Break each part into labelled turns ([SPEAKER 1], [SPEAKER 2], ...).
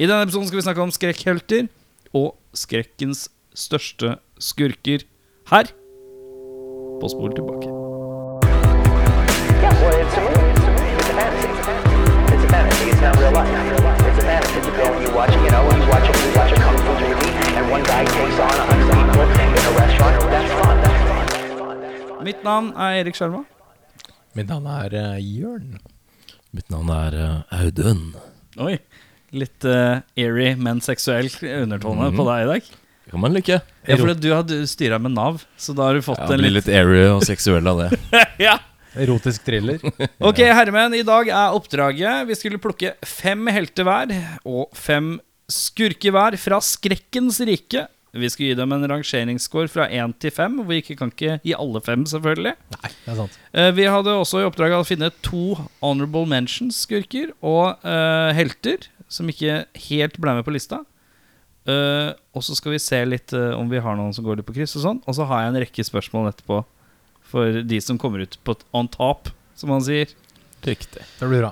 [SPEAKER 1] I denne episoden skal vi snakke om skrekkhelter og skrekkens største skurker her på Spol tilbake.
[SPEAKER 2] Yeah, well, it's a movie. It's a movie. It's a fantasy. It's a fantasy. It's not real life. It's a fantasy. It's a film you watch. You know, you watch a you watch a kung fu movie, and one guy takes on a hundred people in a restaurant. That's fun. That's fun. That's fun. That's fun.
[SPEAKER 1] Mitt navn er Erik Skjerma.
[SPEAKER 3] Mitt navn er uh, Jørn.
[SPEAKER 4] Mitt navn er eh, Audun.
[SPEAKER 1] Oi. Litt eh, airy, men seksuell undertone
[SPEAKER 4] Mhm.
[SPEAKER 1] på deg i dag.
[SPEAKER 4] Det kan man like.
[SPEAKER 1] Ja, for du har styra med Nav, så da har du fått
[SPEAKER 4] Ja,
[SPEAKER 1] en
[SPEAKER 4] blir
[SPEAKER 1] litt
[SPEAKER 4] litt airy og seksuell av det.
[SPEAKER 1] ja.
[SPEAKER 3] Erotisk thriller.
[SPEAKER 1] Ok, herremenn, i dag er oppdraget Vi skulle plukke fem helter hver Og fem skurker hver Fra skrekkens rike Vi skulle gi dem en rangeringsscore fra 1 til 5 Hvor vi ikke kan ikke gi alle fem selvfølgelig
[SPEAKER 3] Nei, det er sant.
[SPEAKER 1] Eh, Vi hadde også i oppdraget å finne to honorable mentions skurker Og eh, helter Som ikke helt ble med på lista Eh, Og så skal vi se litt eh, Om vi har noen som går litt på kryss og sånn Og så har jeg en rekke spørsmål etterpå For de som kommer ut på on top Som han sier
[SPEAKER 4] Riktig.
[SPEAKER 3] Det blir bra.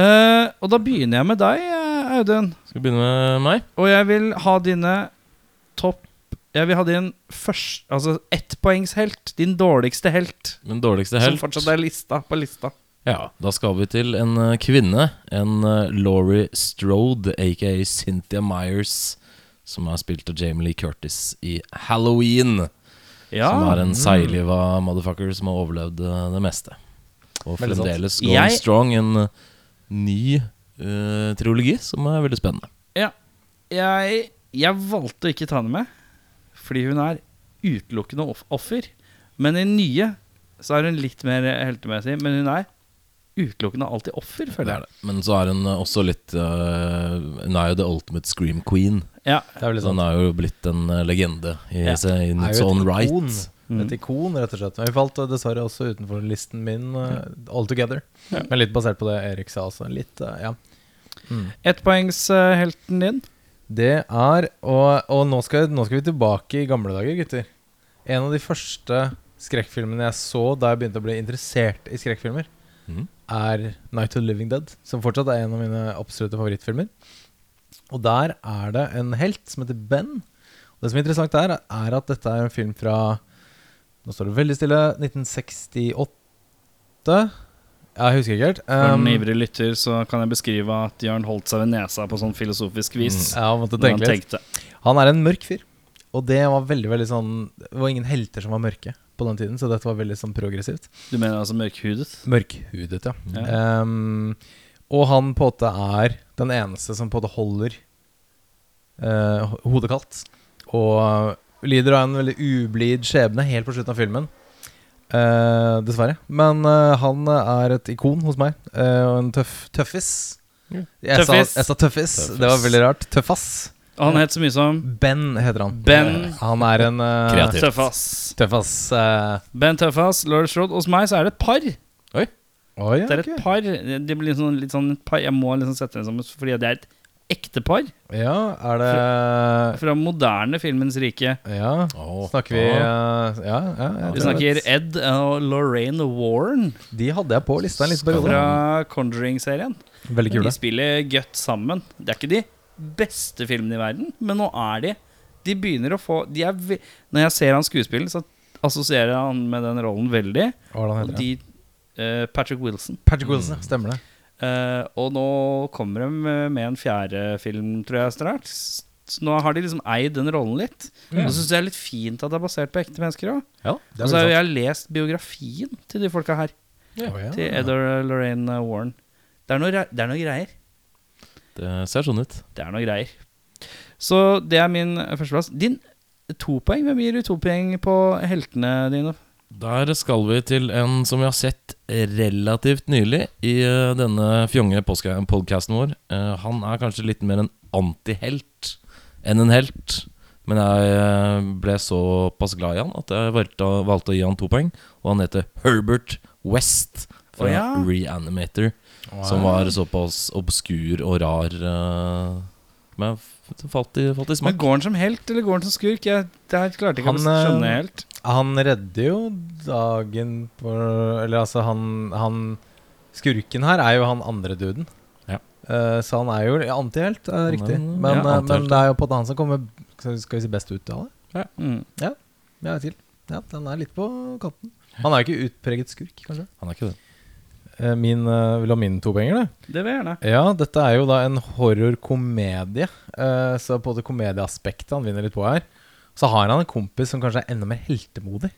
[SPEAKER 1] Eh, og da begynner jeg med deg, eh, Audun.
[SPEAKER 4] Skal vi begynne med meg?
[SPEAKER 1] Og jeg vil ha dine topp Jeg vil ha din først, altså ettpoengshelt. Din dårligste helt.
[SPEAKER 4] Min dårligste
[SPEAKER 1] Som
[SPEAKER 4] helt.
[SPEAKER 1] fortsatt er lista på lista.
[SPEAKER 4] Ja, Da skal vi til en eh, kvinne. En eh, Laurie Strode, aka Cynthia Myers, som er spilt av Jamie Lee Curtis i Halloween. Som er en seigliva motherfucker som har overlevd eh, det meste. Og
[SPEAKER 3] Veldig sant.
[SPEAKER 4] fremdeles going
[SPEAKER 1] Jeg-
[SPEAKER 4] strong. En eh, ny eh, trilogi som er veldig spennende.
[SPEAKER 1] ja. Jeg, jeg valgte å ikke ta henne med, fordi hun er utelukkende off offer. Men i den nye så er hun litt mer heltemessig. Men hun er utelukkende alltid offer,
[SPEAKER 4] Det
[SPEAKER 1] føler
[SPEAKER 4] er
[SPEAKER 1] jeg.
[SPEAKER 4] det. Men så er hun eh, også litt eh, Hun er jo the ultimate scream queen.
[SPEAKER 1] Ja,
[SPEAKER 3] Det er veldig
[SPEAKER 4] Så hun
[SPEAKER 3] sant.
[SPEAKER 4] er jo blitt en eh, legende i
[SPEAKER 1] Ja.
[SPEAKER 4] seg in Sånn
[SPEAKER 3] Er
[SPEAKER 4] its
[SPEAKER 3] jo
[SPEAKER 4] own
[SPEAKER 3] et
[SPEAKER 4] right.
[SPEAKER 3] ikon.
[SPEAKER 1] Mm.
[SPEAKER 3] Et ikon, rett og slett. Men vi falt eh, dessverre også utenfor listen min uh, all together. Men litt basert på det Erik sa også. Litt, eh, ja.
[SPEAKER 1] Ettpoengshelten eh, din.
[SPEAKER 3] Det er Og, og nå, skal, nå skal vi tilbake i gamle dager, gutter. En av de første skrekkfilmene jeg så da jeg begynte å bli interessert i skrekkfilmer,
[SPEAKER 4] Mhm.
[SPEAKER 3] er Night of the Living Dead, som fortsatt er en av mine absolutte favorittfilmer. Og der er det en helt som heter Ben. Og det som er interessant der, er at dette er en film fra Nå står det veldig stille 1968 Jeg husker ikke helt.
[SPEAKER 1] For en
[SPEAKER 3] Um,
[SPEAKER 1] ivrig lytter så kan jeg beskrive at Jørn holdt seg ved nesa på sånn filosofisk vis.
[SPEAKER 3] Mm. ja, måtte
[SPEAKER 1] når han
[SPEAKER 3] tenke litt.
[SPEAKER 1] tenkte.
[SPEAKER 3] Han er en mørk fyr. Og det var veldig, veldig sånn Det var ingen helter som var mørke på den tiden, så dette var veldig sånn progressivt.
[SPEAKER 1] Du mener altså mørkhudet?
[SPEAKER 3] Mørkhudet, ja.
[SPEAKER 1] Ja.
[SPEAKER 3] Ehm, og han på en måte er den eneste som på en måte holder eh, ho- hodet kaldt. Og eh, lider av en veldig ublid skjebne helt på slutten av filmen. Eh, dessverre. Men eh, han er et ikon hos meg, eh, og en tøff tøffis.
[SPEAKER 4] Ja.
[SPEAKER 3] Jeg sa-
[SPEAKER 1] Tøffis.
[SPEAKER 3] Jeg sa tøffis.
[SPEAKER 4] Tøffis.
[SPEAKER 3] Det var veldig rart. Tøffass.
[SPEAKER 1] Og han het så mye som
[SPEAKER 3] Ben heter han.
[SPEAKER 1] Ben
[SPEAKER 3] Han er en eh,
[SPEAKER 4] Kreativ.
[SPEAKER 1] Tøffass.
[SPEAKER 3] Tøff ass. eh.
[SPEAKER 1] Ben Tøffass, Lord Strode. Hos meg så er det et par. Det
[SPEAKER 3] Oi, ja,
[SPEAKER 1] er et
[SPEAKER 3] ok.
[SPEAKER 1] par. Det blir litt sånn, litt sånn et par. Jeg må liksom sette det sammen fordi det er et ekte par
[SPEAKER 3] Ja, er det
[SPEAKER 1] fra moderne filmens rike.
[SPEAKER 3] Ja,
[SPEAKER 4] Å,
[SPEAKER 3] snakker vi
[SPEAKER 4] å.
[SPEAKER 3] eh, Ja, ja. ja
[SPEAKER 1] Vi snakker Ed og Lorraine Warren
[SPEAKER 3] De hadde jeg på lista en liten periode.
[SPEAKER 1] fra Conjuring-serien.
[SPEAKER 3] Veldig
[SPEAKER 1] De
[SPEAKER 3] kule.
[SPEAKER 1] spiller godt sammen. Det er ikke de beste filmene i verden, men nå er de De begynner å få de er, ve- Når jeg ser han skuespillen, så assosierer jeg han med den rollen veldig.
[SPEAKER 3] Hva var det han
[SPEAKER 1] Og
[SPEAKER 3] heter?
[SPEAKER 1] de, eh, Patrick Wilson.
[SPEAKER 3] Patrick Wilson, ja, stemmer det.
[SPEAKER 1] Eh, og nå kommer de eh, med med en fjerde film, tror jeg, straks. Så nå har de liksom eid den rollen litt.
[SPEAKER 3] Mm.
[SPEAKER 1] Og så syns jeg det er litt fint at det er basert på ekte mennesker òg.
[SPEAKER 3] Ja, det
[SPEAKER 1] Og så har jeg lest biografien til de folka her. Til
[SPEAKER 3] veldig sant.
[SPEAKER 1] Ed og Lorraine eh, Warren. Det er noe, re- det er noe greier.
[SPEAKER 4] Det ser sånn ut.
[SPEAKER 1] Det er noe greier. Så det er min førsteplass. Din eh, to poeng? Hvem gir du to poeng på heltene dine?
[SPEAKER 4] Der skal vi til en som vi har sett relativt nylig i eh, denne fjonge podkasten vår. Eh, han er kanskje litt mer en antihelt enn en helt. Men jeg eh, ble såpass glad i han at jeg valgte, å- valgte å gi han to poeng. Og han heter Herbert West fra
[SPEAKER 1] Å ja.
[SPEAKER 4] Reanimator. Som var såpass obskur og rar eh, Men f- falt i, falt i
[SPEAKER 1] Men
[SPEAKER 4] smak.
[SPEAKER 1] Går han som helt, eller går han som skurk? Jeg det her klarte ikke
[SPEAKER 3] Han,
[SPEAKER 1] å skjønne
[SPEAKER 3] eh,
[SPEAKER 1] helt.
[SPEAKER 3] Han redder jo dagen på Eller altså, han, han Skurken her er jo han andre duden.
[SPEAKER 4] Ja.
[SPEAKER 3] Eh, så han er jo antihelt, er
[SPEAKER 4] er
[SPEAKER 3] riktig.
[SPEAKER 4] en-
[SPEAKER 3] Men,
[SPEAKER 1] ja,
[SPEAKER 3] eh,
[SPEAKER 4] antihelt,
[SPEAKER 3] men det er jo på en annen som kommer skal skal vi si best ut av det.
[SPEAKER 1] Mm.
[SPEAKER 3] Ja, jeg er til. Ja, den er litt på kanten. Han er jo ikke utpreget skurk, kanskje.
[SPEAKER 4] Han er ikke det.
[SPEAKER 3] Eh, Min, eh, vil du ha min topenger, du?
[SPEAKER 1] Det vil jeg gjerne.
[SPEAKER 3] Ja, dette er jo da en horrorkomedie, eh, så på det komedieaspektet han vinner litt på her. Så har han en kompis som kanskje er enda mer heltemodig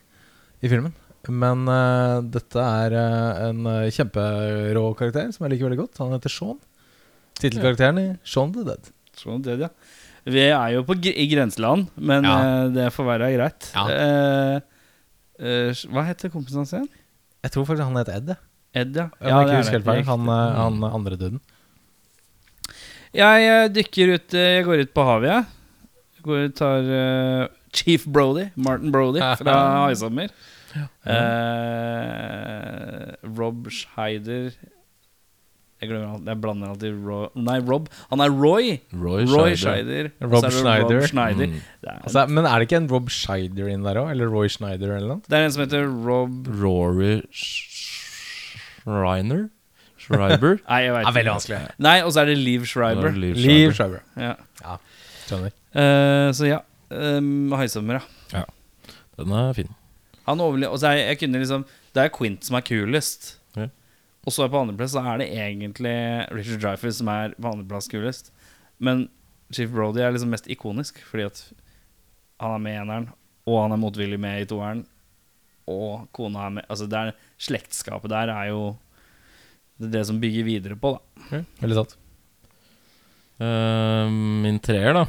[SPEAKER 3] i filmen. Men eh, dette er eh, en eh, kjemperå karakter som jeg liker veldig godt. Han heter Sean. Tittelkarakteren i Sean the Dead.
[SPEAKER 1] Sånn det, ja. Vi er jo på, gr- i grenseland, men
[SPEAKER 3] Ja.
[SPEAKER 1] eh, det får være greit.
[SPEAKER 3] Ja.
[SPEAKER 1] Eh, eh, hva heter kompisen hans igjen?
[SPEAKER 3] Jeg tror faktisk han heter Ed, jeg.
[SPEAKER 1] Ed, ja.
[SPEAKER 3] Om jeg ikke
[SPEAKER 1] det er
[SPEAKER 3] husker
[SPEAKER 1] det.
[SPEAKER 3] helt feil. Han, eh, han andre duden.
[SPEAKER 1] Jeg eh, dykker ut eh, Jeg går ut på havet, jeg. Går og tar eh, Chief Brody, Martin Brody fra Haisommer. Eh, Rob Scheider Jeg glemmer alt, jeg blander alltid Ro Nei, Rob. Han er Roy.
[SPEAKER 4] Roy,
[SPEAKER 1] Roy Scheider.
[SPEAKER 4] Scheider.
[SPEAKER 3] Rob
[SPEAKER 1] og så er det
[SPEAKER 3] Schneider.
[SPEAKER 1] Rob Schneider.
[SPEAKER 4] Mm.
[SPEAKER 1] Det, er,
[SPEAKER 3] Altså, men er det ikke en Rob Scheider inn der òg? Eller Roy Schneider eller noe?
[SPEAKER 1] det er en som heter Rob
[SPEAKER 4] Rory Sch- Schreiner? Schreiber?
[SPEAKER 1] Nei, jeg vet ikke.
[SPEAKER 3] vanskelig.
[SPEAKER 1] Nei, og så er det Liv Schreiber.
[SPEAKER 4] Liv
[SPEAKER 3] Liv
[SPEAKER 4] Schreiber.
[SPEAKER 3] Schreiber.
[SPEAKER 1] Ja.
[SPEAKER 3] Skjønner.
[SPEAKER 1] Eh, så ja. Um, Haisommer, ja.
[SPEAKER 4] Den er fin.
[SPEAKER 1] Han overlever, og så er, jeg kunne liksom Det er Quint som er kulest
[SPEAKER 4] Ja.
[SPEAKER 1] Og så er på andreplass Så er det egentlig Richard Dreyfuss som er på andreplass kulest Men Chief Brody er liksom mest ikonisk Fordi at han er med i eneren Og han er motvillig med i toeren Og kona er med Altså det er Slektskapet der er jo Det, er det som bygger videre på da
[SPEAKER 3] Veldig sant.
[SPEAKER 4] Eh, min treer, da.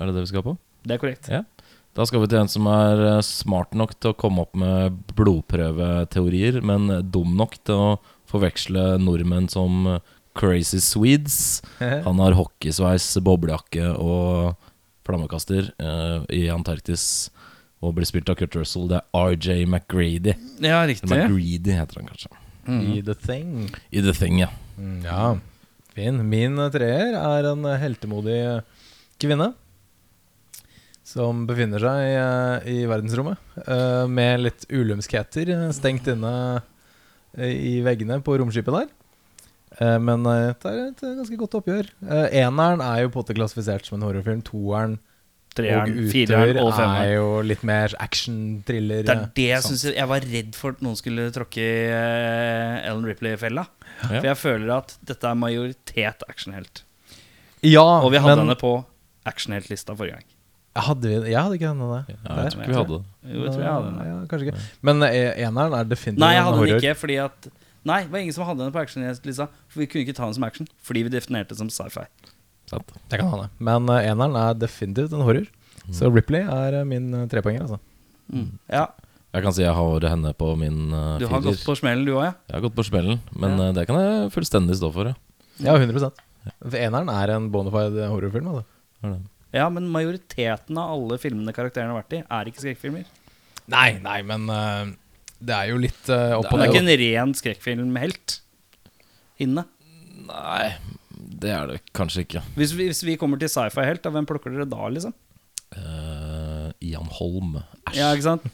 [SPEAKER 4] Er det det vi skal på?
[SPEAKER 1] Det er korrekt
[SPEAKER 4] Ja. Da skal vi til en som er eh, smart nok til å komme opp med blodprøveteorier, men dum nok til å forveksle nordmenn som eh, crazy swedes. Han har hockeysveis, boblejakke og flammekaster eh, i Antarktis. Og blir spilt av Kurt Russell. Det er RJ McGreedy.
[SPEAKER 1] Ja, riktig
[SPEAKER 4] Eller McGreedy heter han kanskje.
[SPEAKER 3] I The Thing. Mm,
[SPEAKER 4] I The Thing, ja.
[SPEAKER 3] Ja, fin. Min eh, treer er en eh, heltemodig kvinne. Som befinner seg eh, i verdensrommet eh, med litt ulumskheter eh, stengt inne eh, i veggene på romskipet der. Eh, Men eh, det er et eh, ganske godt oppgjør. Eh, Eneren er jo på en måte klassifisert som en horrorfilm. Toeren
[SPEAKER 1] Treeren,
[SPEAKER 3] og
[SPEAKER 1] fireren
[SPEAKER 3] utøver
[SPEAKER 1] og
[SPEAKER 3] er
[SPEAKER 1] femmeren
[SPEAKER 3] jo litt mer sånn. action-thriller.
[SPEAKER 1] det er det jeg
[SPEAKER 3] sant.
[SPEAKER 1] synes jeg var redd for at noen skulle tråkke i eh, Ellen Ripley-fella
[SPEAKER 4] Ja.
[SPEAKER 1] For jeg føler at dette er majoritet actionhelt.
[SPEAKER 3] Ja,
[SPEAKER 1] Og vi hadde
[SPEAKER 3] men-
[SPEAKER 1] henne på actionheltlista forrige gang.
[SPEAKER 3] Hadde vi Jeg hadde ikke henne der.
[SPEAKER 4] Ja, jeg
[SPEAKER 3] Der.
[SPEAKER 4] tror ikke vi hadde det.
[SPEAKER 1] Jo, jeg tror jeg hadde henne.
[SPEAKER 3] Ja, kanskje ikke. Men eh, eneren er definitivt
[SPEAKER 1] Nei, jeg
[SPEAKER 3] en
[SPEAKER 1] hadde henne
[SPEAKER 3] horror.
[SPEAKER 1] ikke fordi at Nei, det var ingen som hadde henne på actionheltlista. For vi kunne ikke ta henne som action fordi vi definerte det som sci-fi.
[SPEAKER 4] Sant.
[SPEAKER 3] Det kan hende. Men eh, eneren er definitivt en horror. Så
[SPEAKER 1] Mm.
[SPEAKER 3] Ripley er eh, min eh, trepoenger, altså.
[SPEAKER 1] Ja,
[SPEAKER 4] Jeg kan si jeg har henne på min uh,
[SPEAKER 1] Du har
[SPEAKER 4] firer.
[SPEAKER 1] gått på smellen, du òg, ja?
[SPEAKER 4] Jeg har gått på smellen, men
[SPEAKER 1] Ja.
[SPEAKER 4] eh, det kan jeg fullstendig stå for. Ja.
[SPEAKER 3] Ja, 100 For eneren er en bonafide horrorfilm. Altså.
[SPEAKER 4] Det er det.
[SPEAKER 1] Ja, men majoriteten av alle filmene karakterene har vært i, er ikke skrekkfilmer.
[SPEAKER 3] Nei, nei, men eh, det er jo litt eh, opp
[SPEAKER 1] Det
[SPEAKER 3] og
[SPEAKER 1] er
[SPEAKER 3] ned.
[SPEAKER 1] ikke en ren skrekkfilmhelt inne.
[SPEAKER 4] Nei, det er det kanskje ikke.
[SPEAKER 1] Hvis vi, hvis vi kommer til sci-fi-helt, da, hvem plukker dere da, liksom?
[SPEAKER 4] Eh, Ian Holm. Æsj.
[SPEAKER 1] Ja, ikke sant?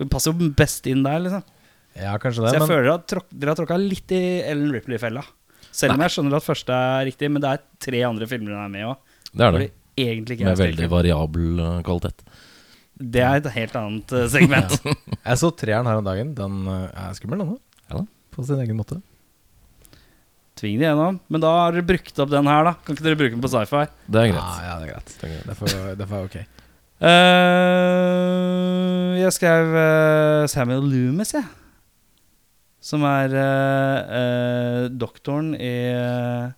[SPEAKER 1] Vi passer jo best inn der, liksom.
[SPEAKER 3] da. Ja, kanskje det,
[SPEAKER 1] Så jeg
[SPEAKER 3] men
[SPEAKER 1] føler at tråk, dere har tråkka litt i Ellen Ripley-fella. Selv om jeg skjønner at første er riktig, men det er tre andre filmer hun er med i òg.
[SPEAKER 4] Det er det.
[SPEAKER 1] Egentlig ikke er
[SPEAKER 4] Med
[SPEAKER 1] en
[SPEAKER 4] veldig
[SPEAKER 1] skrekkfilm.
[SPEAKER 4] variabel eh, kvalitet.
[SPEAKER 1] Det er et helt annet eh, segment.
[SPEAKER 3] jeg så treeren her om dagen. Den eh, er skummel, den òg.
[SPEAKER 4] Ja da.
[SPEAKER 3] På sin egen måte.
[SPEAKER 1] Tving det gjennom. Men da har dere brukt opp den her, da. Kan ikke dere bruke den på sci-fi?
[SPEAKER 4] Det er
[SPEAKER 3] Ja,
[SPEAKER 4] greit.
[SPEAKER 3] ja, det er greit.
[SPEAKER 4] Det er greit.
[SPEAKER 3] Derfor, derfor er det ok.
[SPEAKER 1] Eh, jeg skrev eh, Samuel Loomis, jeg. Som er eh, eh, doktoren i eh,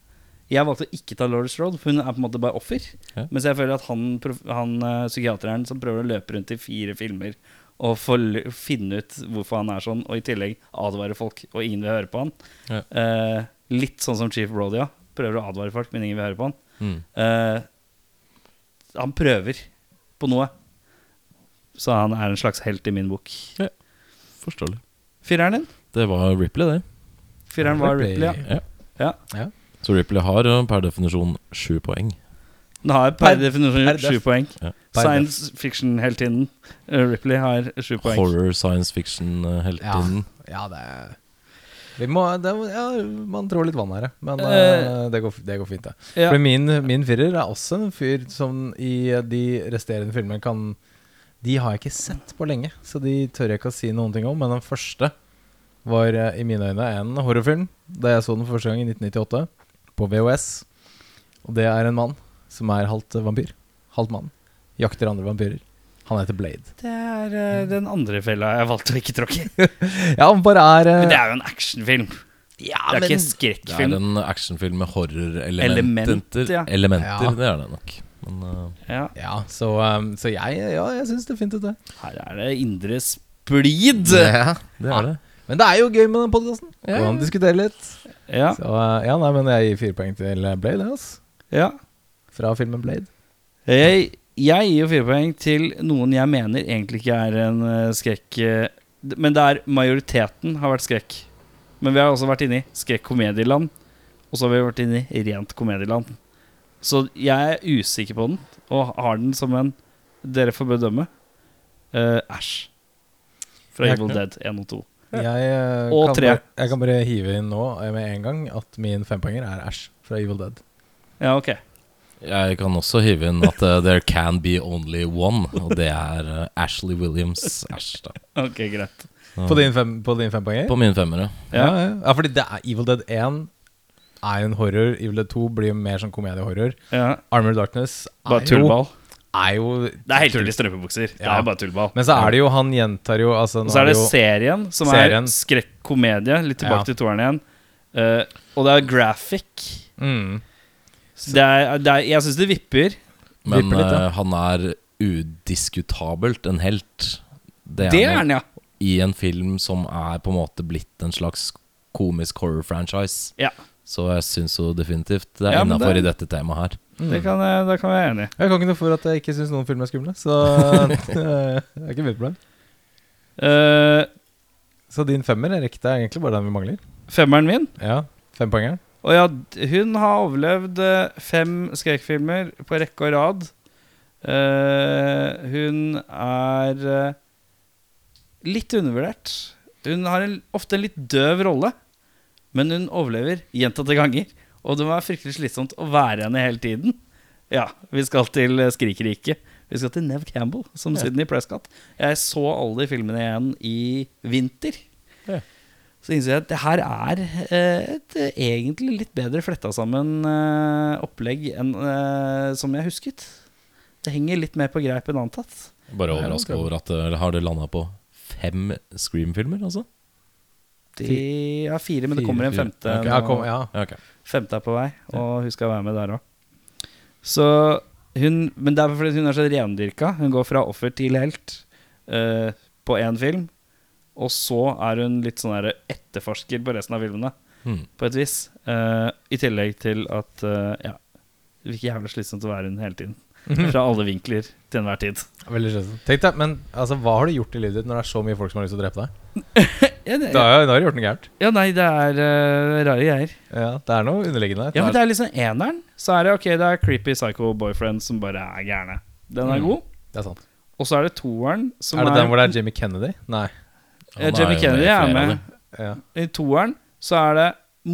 [SPEAKER 1] Jeg valgte å ikke ta Lauris Road, for hun er på en måte bare offer.
[SPEAKER 4] Ja.
[SPEAKER 1] Mens jeg føler at han, prof- han eh, psykiateren som prøver å løpe rundt i fire filmer og få l- finne ut hvorfor han er sånn, og i tillegg advare folk, og ingen vil høre på han.
[SPEAKER 4] Ja.
[SPEAKER 1] Eh, litt sånn som Chief Brody, ja. Prøver å advare folk, men ingen vil høre på han.
[SPEAKER 4] Mm.
[SPEAKER 1] Eh, han prøver på noe. Så han er en slags helt i min bok.
[SPEAKER 4] Forståelig.
[SPEAKER 1] Fireren din?
[SPEAKER 4] Det var Ripley, det.
[SPEAKER 1] Fireren var
[SPEAKER 3] Ripley.
[SPEAKER 1] Ripley, ja.
[SPEAKER 4] Så Ripley har eh, per definisjon sju poeng.
[SPEAKER 1] Den har per
[SPEAKER 3] Per-
[SPEAKER 1] definisjon
[SPEAKER 3] per
[SPEAKER 1] sju poeng.
[SPEAKER 4] Ja.
[SPEAKER 3] Per
[SPEAKER 1] Science fiction-heltinnen eh, Ripley har sju poeng.
[SPEAKER 4] Horror, science fiction, eh,
[SPEAKER 3] Ja.
[SPEAKER 4] heltinnen.
[SPEAKER 3] ja, det er Vi må, det, er- ja, man trår litt vann her, ja. men
[SPEAKER 1] Eh.
[SPEAKER 3] eh, det, går, det går fint. Det.
[SPEAKER 1] Ja.
[SPEAKER 3] For min, min firer er også en fyr som i eh, de resterende filmene kan De har jeg ikke sett på lenge, så de tør jeg ikke å si noen ting om. Men den første var eh, i mine øyne en horrorfilm da jeg så den for første gang i 1998 på VHS. Og det er en mann som er halvt eh, vampyr. Halvt mann. Jakter andre vampyrer. Han heter Blade.
[SPEAKER 1] Det er eh, den andre fella jeg valgte å ikke tråkke i.
[SPEAKER 3] Eh. Ja, han bare er eh,
[SPEAKER 1] Men det er jo en actionfilm.
[SPEAKER 3] ja,
[SPEAKER 1] Det er ikke en
[SPEAKER 3] men-
[SPEAKER 4] Det er
[SPEAKER 1] skrekkfilm.
[SPEAKER 4] en actionfilm med
[SPEAKER 1] Element,
[SPEAKER 4] horrorelementer.
[SPEAKER 1] ja.
[SPEAKER 4] Elementer,
[SPEAKER 3] Ja.
[SPEAKER 4] det er det nok. Men eh,
[SPEAKER 1] Ja.
[SPEAKER 3] Ja, så, eh, så jeg, ja, jeg syns definitivt det.
[SPEAKER 1] Her er det indre splid.
[SPEAKER 4] det er det.
[SPEAKER 3] Men det er jo gøy med den podkasten.
[SPEAKER 4] Ja.
[SPEAKER 3] Kan diskutere litt.
[SPEAKER 1] Ja,
[SPEAKER 3] Så eh, ja, nei, men jeg gir fire poeng til Blade, jeg, altså.
[SPEAKER 1] ja.
[SPEAKER 3] Fra filmen Blade.
[SPEAKER 1] Jeg, jeg gir jo fire poeng til noen jeg mener egentlig ikke er en eh, skrekk eh, d- Men det er majoriteten har vært skrekk. Men vi har også vært inne i skrekk-komedieland. Og så har vi vært inne i rent komedieland. Så jeg er usikker på den, og har den som en dere får bedømme. Eh, Æsj. Fra
[SPEAKER 3] Jeg-
[SPEAKER 1] Evil Dead 1 og 2.
[SPEAKER 3] Jeg, eh,
[SPEAKER 1] Og
[SPEAKER 3] kan
[SPEAKER 1] tre.
[SPEAKER 3] Bare, jeg kan bare hive inn nå eh, med en gang at min fempoenger er Æsj fra Evil Dead.
[SPEAKER 1] Ja, ok.
[SPEAKER 4] Jeg kan også hive inn at eh, there can be only one, og det er eh, Ashley Williams Ash, da.
[SPEAKER 1] Ok, Greit.
[SPEAKER 4] Ja.
[SPEAKER 3] På din, fem, på din fempoenger?
[SPEAKER 4] På min femmer, ja.
[SPEAKER 3] ja. Ja, ja, fordi det er Evil Dead 1 er en horror. Evil Dead 2 blir jo mer sånn komediehorror.
[SPEAKER 1] Ja.
[SPEAKER 3] Armored Darkness er
[SPEAKER 1] Bare
[SPEAKER 3] jo,
[SPEAKER 1] tullball.
[SPEAKER 3] er jo
[SPEAKER 1] Det er helter i strømpebukser. Det
[SPEAKER 3] Ja.
[SPEAKER 1] er bare tullball.
[SPEAKER 3] Men så er det jo Han gjentar jo altså, nå
[SPEAKER 1] Og så er det
[SPEAKER 3] jo,
[SPEAKER 1] serien, som
[SPEAKER 3] Serien.
[SPEAKER 1] er skrekk-komedie. Litt tilbake
[SPEAKER 3] Ja.
[SPEAKER 1] til toeren igjen. Eh, og det er graphic.
[SPEAKER 3] mm,
[SPEAKER 1] Så Det er, det er, jeg syns det vipper.
[SPEAKER 4] Men
[SPEAKER 3] Vipper litt, ja.
[SPEAKER 4] eh, han er udiskutabelt en helt. Det
[SPEAKER 1] Det
[SPEAKER 4] er
[SPEAKER 1] er
[SPEAKER 4] han
[SPEAKER 1] den, ja.
[SPEAKER 4] i en film som er på en måte blitt en slags komisk horror-franchise.
[SPEAKER 1] ja.
[SPEAKER 4] Så jeg syns jo definitivt det er
[SPEAKER 1] Ja, men
[SPEAKER 4] innafor
[SPEAKER 1] det-
[SPEAKER 4] i dette temaet her.
[SPEAKER 1] Det kan, jeg- det kan jeg være enig i.
[SPEAKER 3] Jeg kan ikke noe for at jeg ikke syns noen filmer er skumle, så det er ikke mitt problem.
[SPEAKER 1] Eh,
[SPEAKER 3] Så din femmer er riktig, er egentlig bare den vi mangler.
[SPEAKER 1] femmeren min
[SPEAKER 3] Ja, Fempoengeren.
[SPEAKER 1] Og ja, d- hun har overlevd eh, fem skrekkfilmer på rekke og rad. Eh, hun er eh, litt undervurdert. Hun har en, ofte en litt døv rolle, men hun overlever gjentatte ganger. Og det må være fryktelig slitsomt å være henne hele tiden. Ja, vi skal til eh, Skrikeriket. Vi skal til Nev Campbell som Sydney Prescott. Jeg så alle de filmene igjen i vinter. Så innser jeg at det her er eh, et eh, egentlig litt bedre fletta sammen eh, opplegg enn eh, som jeg husket. Det henger litt mer på greip enn antatt.
[SPEAKER 4] Bare
[SPEAKER 3] Nei, det
[SPEAKER 4] overraska
[SPEAKER 3] skal-
[SPEAKER 4] over at eh, har det landa på fem Scream-filmer, altså?
[SPEAKER 1] De har fire, men det
[SPEAKER 3] Fire,
[SPEAKER 1] kommer en
[SPEAKER 4] fire.
[SPEAKER 1] femte.
[SPEAKER 4] Ok,
[SPEAKER 3] Ja,
[SPEAKER 1] nå.
[SPEAKER 3] kom, ja.
[SPEAKER 4] Ja, ok.
[SPEAKER 1] Femte er på vei, og hun skal være med der òg. Så hun Men det er fordi hun er så rendyrka. Hun går fra offer til helt eh, på én film. Og så er hun litt sånn der etterforsker på resten av filmene.
[SPEAKER 4] Hmm.
[SPEAKER 1] på et vis. Eh, I tillegg til at eh, ja, det virker jævlig slitsomt å være hun hele tiden. Fra alle vinkler til enhver tid.
[SPEAKER 3] Veldig slitsomt. Tenk deg, men altså, hva har du gjort i livet ditt når det er så mye folk som har lyst til å drepe deg?
[SPEAKER 1] Ja, det,
[SPEAKER 3] Da, har- da har du gjort noe gærent.
[SPEAKER 1] ja nei, det er eh, rare greier.
[SPEAKER 3] Ja, det er noe underliggende her.
[SPEAKER 1] Ja, men det er liksom eneren. Så er det ok, det er creepy psycho boyfriend som bare er gærne. Den er
[SPEAKER 4] Mm.
[SPEAKER 1] god.
[SPEAKER 3] Det er sant.
[SPEAKER 1] Og så er det toeren som
[SPEAKER 3] er det den hvor det er Jimmy Kennedy? Nei.
[SPEAKER 1] Ja,
[SPEAKER 4] Han
[SPEAKER 1] Jamie
[SPEAKER 4] jo
[SPEAKER 1] Kennedy
[SPEAKER 4] med i
[SPEAKER 1] er
[SPEAKER 4] flere av
[SPEAKER 1] med.
[SPEAKER 4] de.
[SPEAKER 3] Ja.
[SPEAKER 1] I toeren så er det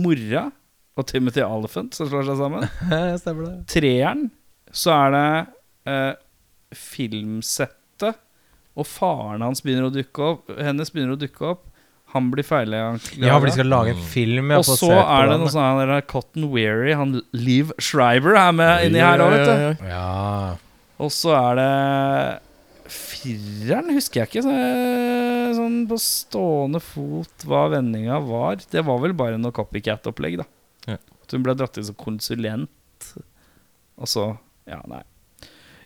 [SPEAKER 1] mora og Timothy Oliphant som slår seg sammen.
[SPEAKER 3] Stemmer det.
[SPEAKER 1] treeren så er det eh, filmsettet, og faren hans begynner å dukke opp. Hennes begynner å dukke opp. Han blir feilanklaga.
[SPEAKER 3] Ja, for de skal lage en film. ja,
[SPEAKER 1] Mm. og
[SPEAKER 3] basert
[SPEAKER 1] så
[SPEAKER 3] på
[SPEAKER 1] er det
[SPEAKER 3] den.
[SPEAKER 1] noe sånn her, der Cotton Weary, han Liv Shriver er med inni her òg, vet du.
[SPEAKER 3] Ja.
[SPEAKER 1] Og så er det fireren, husker jeg ikke så, sånn på stående fot hva vendinga var. Det var vel bare noe copycat-opplegg, da.
[SPEAKER 4] Ja.
[SPEAKER 1] At hun ble dratt inn som konsulent, og så Ja, nei.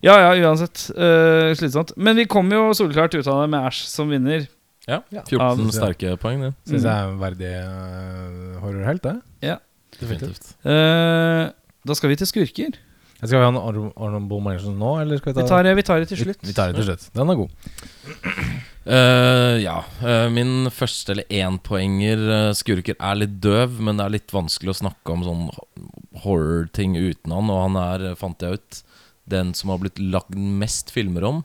[SPEAKER 1] Ja ja, uansett. eh, slitsomt. Men vi kom jo soleklart ut av det med Æsj som vinner.
[SPEAKER 4] Ja,
[SPEAKER 3] Ja.
[SPEAKER 4] 14
[SPEAKER 3] Ja.
[SPEAKER 4] sterke poeng, det.
[SPEAKER 1] Mm.
[SPEAKER 3] Syns jeg er en verdig øh, horrorhelt, det.
[SPEAKER 1] Ja.
[SPEAKER 4] Definitivt.
[SPEAKER 1] Eh, da skal vi til skurker.
[SPEAKER 3] Jeg skal vi ha en honor- honorable mention nå, eller skal vi ta
[SPEAKER 1] Vi tar, vi tar det til slutt.
[SPEAKER 3] Vi, vi tar det til slutt. Den er god.
[SPEAKER 4] Eh, ja. eh, min første eller énpoenger uh, skurker er litt døv, men det er litt vanskelig å snakke om sånn ho- horror-ting uten han, og han er, eh, fant jeg ut, den som har blitt lagd mest filmer om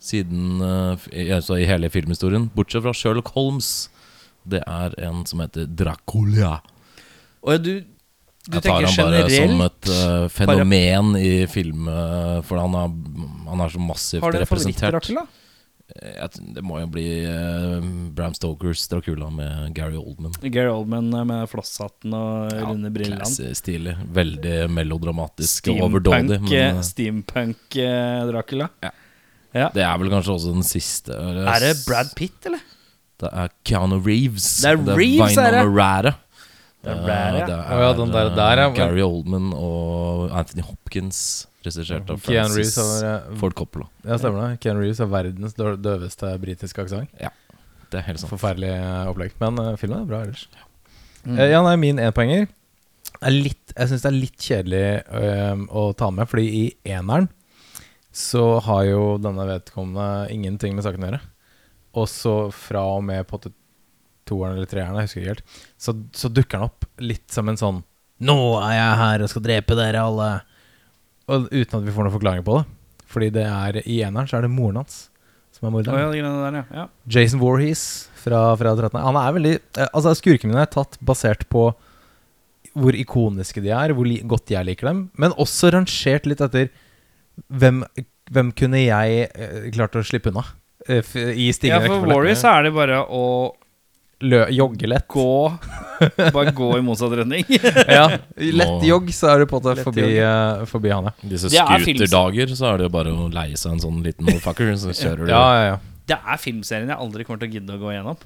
[SPEAKER 4] siden eh, f- i- altså i hele filmhistorien, bortsett fra Sherlock Holmes. Det er en som heter Dracula.
[SPEAKER 1] Og du, du
[SPEAKER 4] Jeg tar
[SPEAKER 1] tenker
[SPEAKER 4] han bare som
[SPEAKER 1] generelt
[SPEAKER 4] et eh, fenomen i film eh, For han er, han er så massivt
[SPEAKER 1] Har du en
[SPEAKER 4] representert.
[SPEAKER 1] favoritt-Dracula?
[SPEAKER 4] Eh, jeg t- Det må jo bli eh, Bram Stokers Dracula med Gary Oldman.
[SPEAKER 1] Gary Oldman eh, med flosshatten og
[SPEAKER 4] Ja,
[SPEAKER 1] runde brillene.
[SPEAKER 4] classy, Stilig. Veldig melodramatisk og overdådig.
[SPEAKER 1] Steampunk,
[SPEAKER 4] Men eh,
[SPEAKER 1] steampunk eh, Dracula.
[SPEAKER 4] det er vel kanskje også den siste. eller
[SPEAKER 1] Er det
[SPEAKER 4] s-
[SPEAKER 1] Brad Pitt, eller?
[SPEAKER 4] Det er Keanu Reeves.
[SPEAKER 1] Det er Reeves, er det?
[SPEAKER 4] Vinona Rara.
[SPEAKER 1] Det er Rara, ja.
[SPEAKER 4] Eh, det er,
[SPEAKER 3] Å ja, den der-
[SPEAKER 4] eh,
[SPEAKER 3] der, ja.
[SPEAKER 4] Gary Oldman og Anthony Hopkins, regissert av
[SPEAKER 3] Keanu
[SPEAKER 4] Francis
[SPEAKER 3] Reeves har-
[SPEAKER 4] Ford Coppola.
[SPEAKER 3] Ja, stemmer det. Keanu Reeves er verdens dø- døveste britiske aksent.
[SPEAKER 4] Det er helt sant.
[SPEAKER 3] Forferdelig eh, opplegg. Men eh, filmen er bra ellers.
[SPEAKER 1] Mm.
[SPEAKER 3] Eh, ja, nei, min enpoenger er litt Jeg syns det er litt kjedelig øhm, å ta med, fordi i eneren så har jo denne vedkommende ingenting med saken å gjøre. Og så fra og med på t- toeren eller treeren, jeg husker ikke helt, så, så dukker han opp litt som en sånn Nå er jeg her og skal drepe dere alle. Og uten at vi får noen forklaring på det. Fordi det er i eneren så er det moren hans som er morderen.
[SPEAKER 1] Å, ja, de greiene der, ja. ja.
[SPEAKER 3] Jason Warhees fra Fredag 13. Han er veldig eh, Altså, skurkene mine er tatt basert på hvor ikoniske de er, hvor li godt jeg liker dem, men også rangert litt etter hvem, hvem kunne jeg eh, klart å slippe unna? Eh, f I
[SPEAKER 1] ja,
[SPEAKER 3] stigende
[SPEAKER 1] for
[SPEAKER 3] rekkefølge.
[SPEAKER 1] Warriors er det bare å
[SPEAKER 3] Lø jogge lett.
[SPEAKER 1] gå Bare gå i motsatt retning.
[SPEAKER 3] Ja, lett
[SPEAKER 4] Nå-
[SPEAKER 3] jogg, så er du på en måte
[SPEAKER 1] Lett
[SPEAKER 3] forbi, eh, forbi han, ja.
[SPEAKER 4] Disse
[SPEAKER 1] Det er films-
[SPEAKER 4] scooterdager, så er det jo bare å leie seg en sånn liten motherfucker, så kjører du.
[SPEAKER 3] Ja, ja, ja.
[SPEAKER 1] Det er filmserien jeg aldri kommer til å gidde å gå gjennom.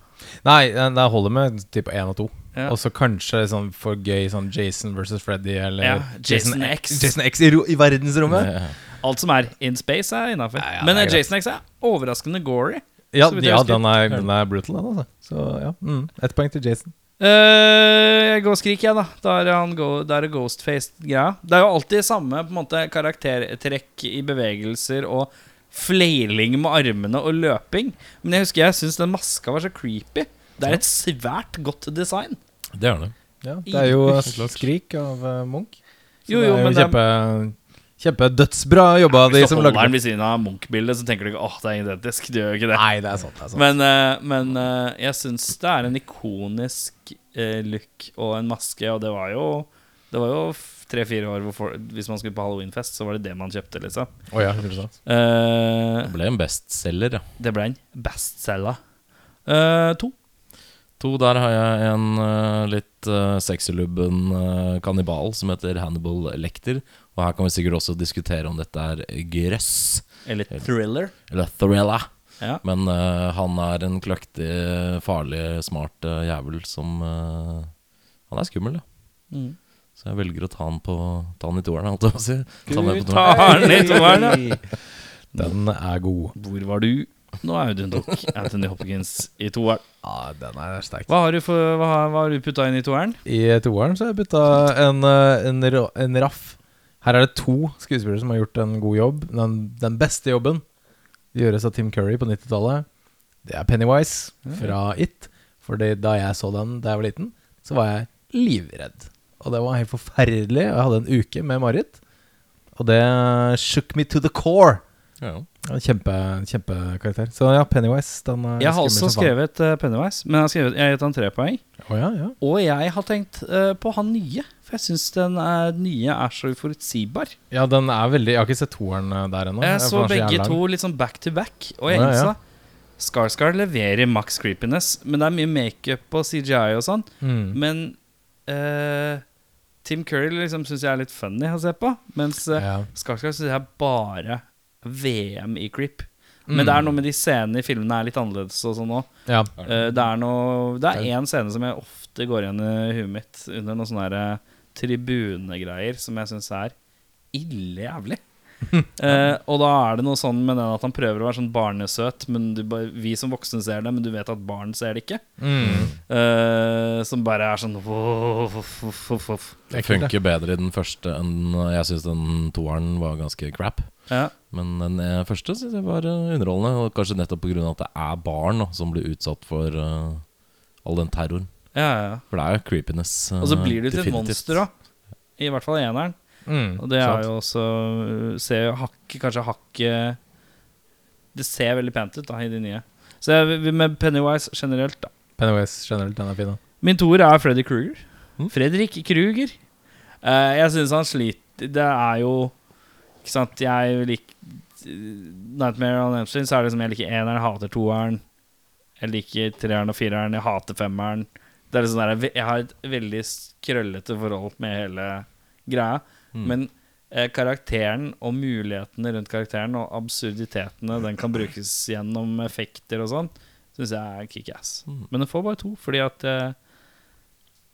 [SPEAKER 3] Nei, eh, det holder med typ én og to.
[SPEAKER 1] Ja.
[SPEAKER 3] Og så kanskje sånn for gøy sånn Jason versus Freddy eller
[SPEAKER 1] Ja, Jason X.
[SPEAKER 3] Jason X i, ro i verdensrommet.
[SPEAKER 4] Eh,
[SPEAKER 1] Alt som er in space, er innafor.
[SPEAKER 3] Ja, ja,
[SPEAKER 1] Men
[SPEAKER 3] det er
[SPEAKER 1] eh, Jason X er overraskende gory.
[SPEAKER 3] Ja,
[SPEAKER 1] Så vidt jeg
[SPEAKER 3] ja
[SPEAKER 1] husker.
[SPEAKER 3] den, er, den er brutal, den, altså. Så ja. Mm. Ett poeng til Jason.
[SPEAKER 1] Eh, jeg går og skriker, jeg, da. Da er han go da er det Ghostface-greia. Det er jo alltid samme på en måte, karaktertrekk i bevegelser og flailing med armene og løping. Men jeg husker jeg syns den maska var så creepy. Det er et svært godt design.
[SPEAKER 4] det er det.
[SPEAKER 3] Ja, det
[SPEAKER 1] I-
[SPEAKER 3] er jo
[SPEAKER 4] Helt klart.
[SPEAKER 3] 'Skrik' av eh, Munch. Så
[SPEAKER 1] Jo, jo, men um,
[SPEAKER 3] det er jo
[SPEAKER 1] det er-
[SPEAKER 3] kjempe, kjempedødsbra jobba, de
[SPEAKER 1] Hvis du
[SPEAKER 3] som
[SPEAKER 1] holder
[SPEAKER 3] lagde
[SPEAKER 1] den
[SPEAKER 3] det.
[SPEAKER 1] ved siden av Munch-bildet, så tenker du ikke åh, det er identisk. Du gjør jo ikke det.
[SPEAKER 3] Nei, sånn. det er sant. Det er sant.
[SPEAKER 1] Men, eh, men eh, jeg syns det er en ikonisk eh, look og en maske, og det var jo det var jo tre-fire år hvor folk- hvis man skulle på halloweenfest, så var det det man kjøpte, liksom.
[SPEAKER 3] Å ja, helt sant.
[SPEAKER 1] Eh,
[SPEAKER 4] Det ble en bestselger, ja.
[SPEAKER 1] det ble en bestselger. Eh, to.
[SPEAKER 4] To, der har jeg en eh, litt uh, sexylubben eh, kannibal som heter Hannibal Lecter. Og her kan vi sikkert også diskutere om dette er grøss
[SPEAKER 1] Eller thriller.
[SPEAKER 4] eller thriller.
[SPEAKER 1] Ja.
[SPEAKER 4] Men eh, han er en kløktig, farlig, smart eh, jævel som eh, Han er skummel, ja.
[SPEAKER 1] Mm.
[SPEAKER 4] Så jeg velger å ta han, på, ta han i toeren, holdt jeg på å si. Ta han med på toeren.
[SPEAKER 1] Tar den i toeren, ja.
[SPEAKER 3] Den er god.
[SPEAKER 1] Hvor var du nå Audun tok Anthony Hopkins i toeren?
[SPEAKER 3] Ja, den er sterk.
[SPEAKER 1] Hva har du, for, hva, har- hva har du putta inn i toeren?
[SPEAKER 3] I toeren så har jeg bytta en, eh, en, ra- en raff. Her er det to skuespillere som har gjort en god jobb. Den, den beste jobben gjøres av Tim Curry på 90-tallet. Det er Pennywise fra It. Fordi da jeg så den da jeg var liten, så var jeg livredd. Og det var helt forferdelig. Og jeg hadde en uke med mareritt. Og det shook me to the core.
[SPEAKER 4] Ja, ja.
[SPEAKER 3] En Kjempe, en Kjempekarakter. Så ja, Pennywise. Den er
[SPEAKER 1] Jeg har
[SPEAKER 3] skummel
[SPEAKER 1] også
[SPEAKER 3] som faen.
[SPEAKER 1] skrevet eh, Pennywise, men jeg har skrevet, jeg har gitt han tre poeng.
[SPEAKER 3] Å ja, ja.
[SPEAKER 1] Og jeg har tenkt eh, på han nye, for jeg syns den eh, nye er så uforutsigbar.
[SPEAKER 3] ja, den er veldig Jeg har ikke sett toeren eh, der ennå.
[SPEAKER 1] Jeg så
[SPEAKER 3] for den er jævlig
[SPEAKER 1] begge
[SPEAKER 3] lang.
[SPEAKER 1] to litt sånn back to back, og jeg
[SPEAKER 3] Ja, ja.
[SPEAKER 1] innså Skarsgård leverer max creepiness, men det er mye makeup og CGI og sånn.
[SPEAKER 3] Mm.
[SPEAKER 1] Men eh, Tim Curry liksom syns jeg er litt funny å se på, mens uh,
[SPEAKER 3] Ja.
[SPEAKER 1] Skarsgård syns jeg er bare VM i creep. Men det er noe med de scenene i filmene er litt annerledes og sånn òg.
[SPEAKER 3] Ja.
[SPEAKER 1] Eh, det er noe Det er én scene som jeg ofte går igjen i huet mitt under noen sånne her, eh, tribunegreier som jeg syns er ille jævlig. Eh, og da er det noe sånn med den at han prøver å være sånn barnesøt, men du, bare- vi som voksne ser det, men du vet at barn ser det ikke.
[SPEAKER 3] Mm.
[SPEAKER 1] Eh, som bare er sånn voff, voff, voff, voff, voff.
[SPEAKER 4] Det funker bedre i den første enn eh, Jeg syns den toeren var ganske crap.
[SPEAKER 1] Ja.
[SPEAKER 4] Men den eh, første synes jeg var eh, underholdende, og kanskje nettopp pga. at det er barn da, som blir utsatt for eh, all den terroren.
[SPEAKER 1] ja, ja, ja.
[SPEAKER 4] For det er jo creepiness. eh,
[SPEAKER 1] Og så blir du til et
[SPEAKER 4] definitivt.
[SPEAKER 1] monster òg. I hvert fall i eneren.
[SPEAKER 3] Mm.
[SPEAKER 1] Og det er
[SPEAKER 3] Sant.
[SPEAKER 1] jo også uh, Ser jo hakket, kanskje hakket Det ser veldig pent ut da i de nye. Så jeg vil med Pennywise generelt, da.
[SPEAKER 3] Pennywise generelt, den er fin. da.
[SPEAKER 1] Min toer er Freddy Kruger.
[SPEAKER 4] Mm.
[SPEAKER 1] Fredrik Kruger. Eh, jeg syns han sliter Det er jo Ikke sant, jeg liker Nightmare on Elm Street, så er det liksom jeg liker eneren, jeg hater toeren. Jeg liker treeren og fireren, jeg hater femmeren. Det er liksom der, jeg har et veldig krøllete forhold med hele greia.
[SPEAKER 4] Mm.
[SPEAKER 1] Men eh, karakteren og mulighetene rundt karakteren og absurditetene den kan brukes gjennom effekter og sånn, syns jeg er kickass.
[SPEAKER 4] Mm.
[SPEAKER 1] Men den får bare to, fordi at eh,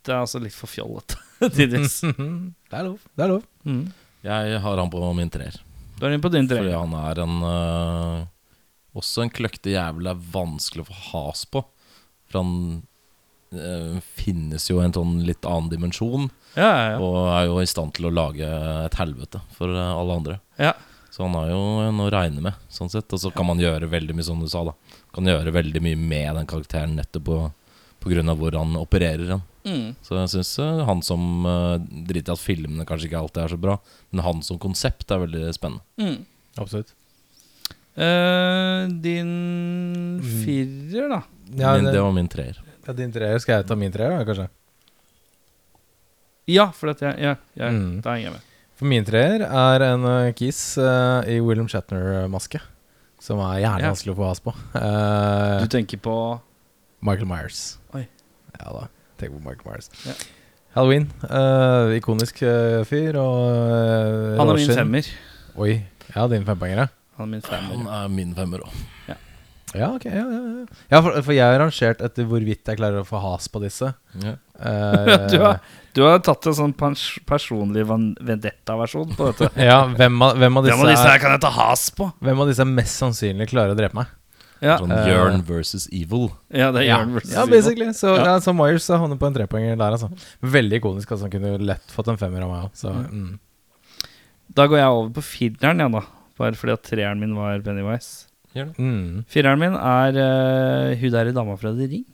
[SPEAKER 1] det er altså litt for fjollete, tidvis.
[SPEAKER 3] Det er lov. Det er lov.
[SPEAKER 1] Mm.
[SPEAKER 4] Jeg har han på min treer.
[SPEAKER 1] Da er det inn på din
[SPEAKER 4] Fordi
[SPEAKER 1] treer.
[SPEAKER 4] han er en øh, Også en kløktig jævel det er vanskelig å få has på. For han øh, finnes jo i en sånn litt annen dimensjon.
[SPEAKER 1] Ja, ja, ja.
[SPEAKER 4] Og er jo i stand til å lage et helvete for øh, alle andre.
[SPEAKER 1] ja.
[SPEAKER 4] Så han har jo noe å regne med, sånn sett. Og så kan man gjøre veldig mye, som du sa, da. Kan gjøre veldig mye med den karakteren nettopp på, på grunn av hvor han opererer den.
[SPEAKER 1] Mm.
[SPEAKER 4] Så jeg syns han som øh, Drit i at filmene kanskje ikke alltid er så bra, men han som konsept er veldig spennende.
[SPEAKER 1] Mm.
[SPEAKER 3] Absolutt.
[SPEAKER 1] Eh, din
[SPEAKER 3] Mm.
[SPEAKER 1] firer, da.
[SPEAKER 3] Ja,
[SPEAKER 4] men
[SPEAKER 3] det,
[SPEAKER 4] det var min treer.
[SPEAKER 3] ja, din treer. Skal jeg ta min treer, da, kanskje?
[SPEAKER 1] Ja, for at jeg, ja, jeg
[SPEAKER 3] Mm.
[SPEAKER 1] Da henger jeg med.
[SPEAKER 3] For min treer er en eh, kiss eh, i William Shatner-maske. Som er jævlig
[SPEAKER 1] Ja.
[SPEAKER 3] vanskelig å få has på. Eh,
[SPEAKER 1] Du tenker på
[SPEAKER 3] Michael Myers.
[SPEAKER 1] Oi.
[SPEAKER 3] Ja da. Tenk på Michael Myers.
[SPEAKER 1] Ja.
[SPEAKER 3] Halloween. eh, ikonisk eh, fyr. Og eh,
[SPEAKER 1] Han er min
[SPEAKER 3] råskinn.
[SPEAKER 1] femmer.
[SPEAKER 3] Oi. Ja, din fempoengere.
[SPEAKER 1] Han er min
[SPEAKER 4] Han
[SPEAKER 1] femmer.
[SPEAKER 4] er min femmer òg.
[SPEAKER 3] Ja, ok. Ja, ja, ja. ja for, for jeg har rangert etter hvorvidt jeg klarer å få has på disse.
[SPEAKER 4] Ja.
[SPEAKER 3] Eh,
[SPEAKER 1] Du har, du har tatt en sånn pers personlig van- vendetta-versjon på dette.
[SPEAKER 3] ja, hvem av, hvem,
[SPEAKER 1] Hvem
[SPEAKER 3] av disse
[SPEAKER 1] av disse her
[SPEAKER 3] er,
[SPEAKER 1] kan jeg ta has på?
[SPEAKER 3] hvem av disse er mest sannsynlig klarer å drepe meg?
[SPEAKER 1] Ja,
[SPEAKER 4] Sånn
[SPEAKER 3] Eh.
[SPEAKER 4] Jørn versus Evil.
[SPEAKER 1] ja det er
[SPEAKER 3] Ja,
[SPEAKER 1] Jørn versus
[SPEAKER 3] ja
[SPEAKER 1] Ivo.
[SPEAKER 3] basically. Så,
[SPEAKER 1] Ja.
[SPEAKER 3] ja. så Myers eh, havner på en trepoenger der, altså. Veldig ikonisk. Altså. Han kunne jo lett fått en femmer av meg òg, så mm.
[SPEAKER 1] Da går jeg over på fireren, ja, da. Bare fordi at treeren min var Pennywise.
[SPEAKER 3] Mm.
[SPEAKER 1] Fireren min er eh, hun derre dama fra The Ring.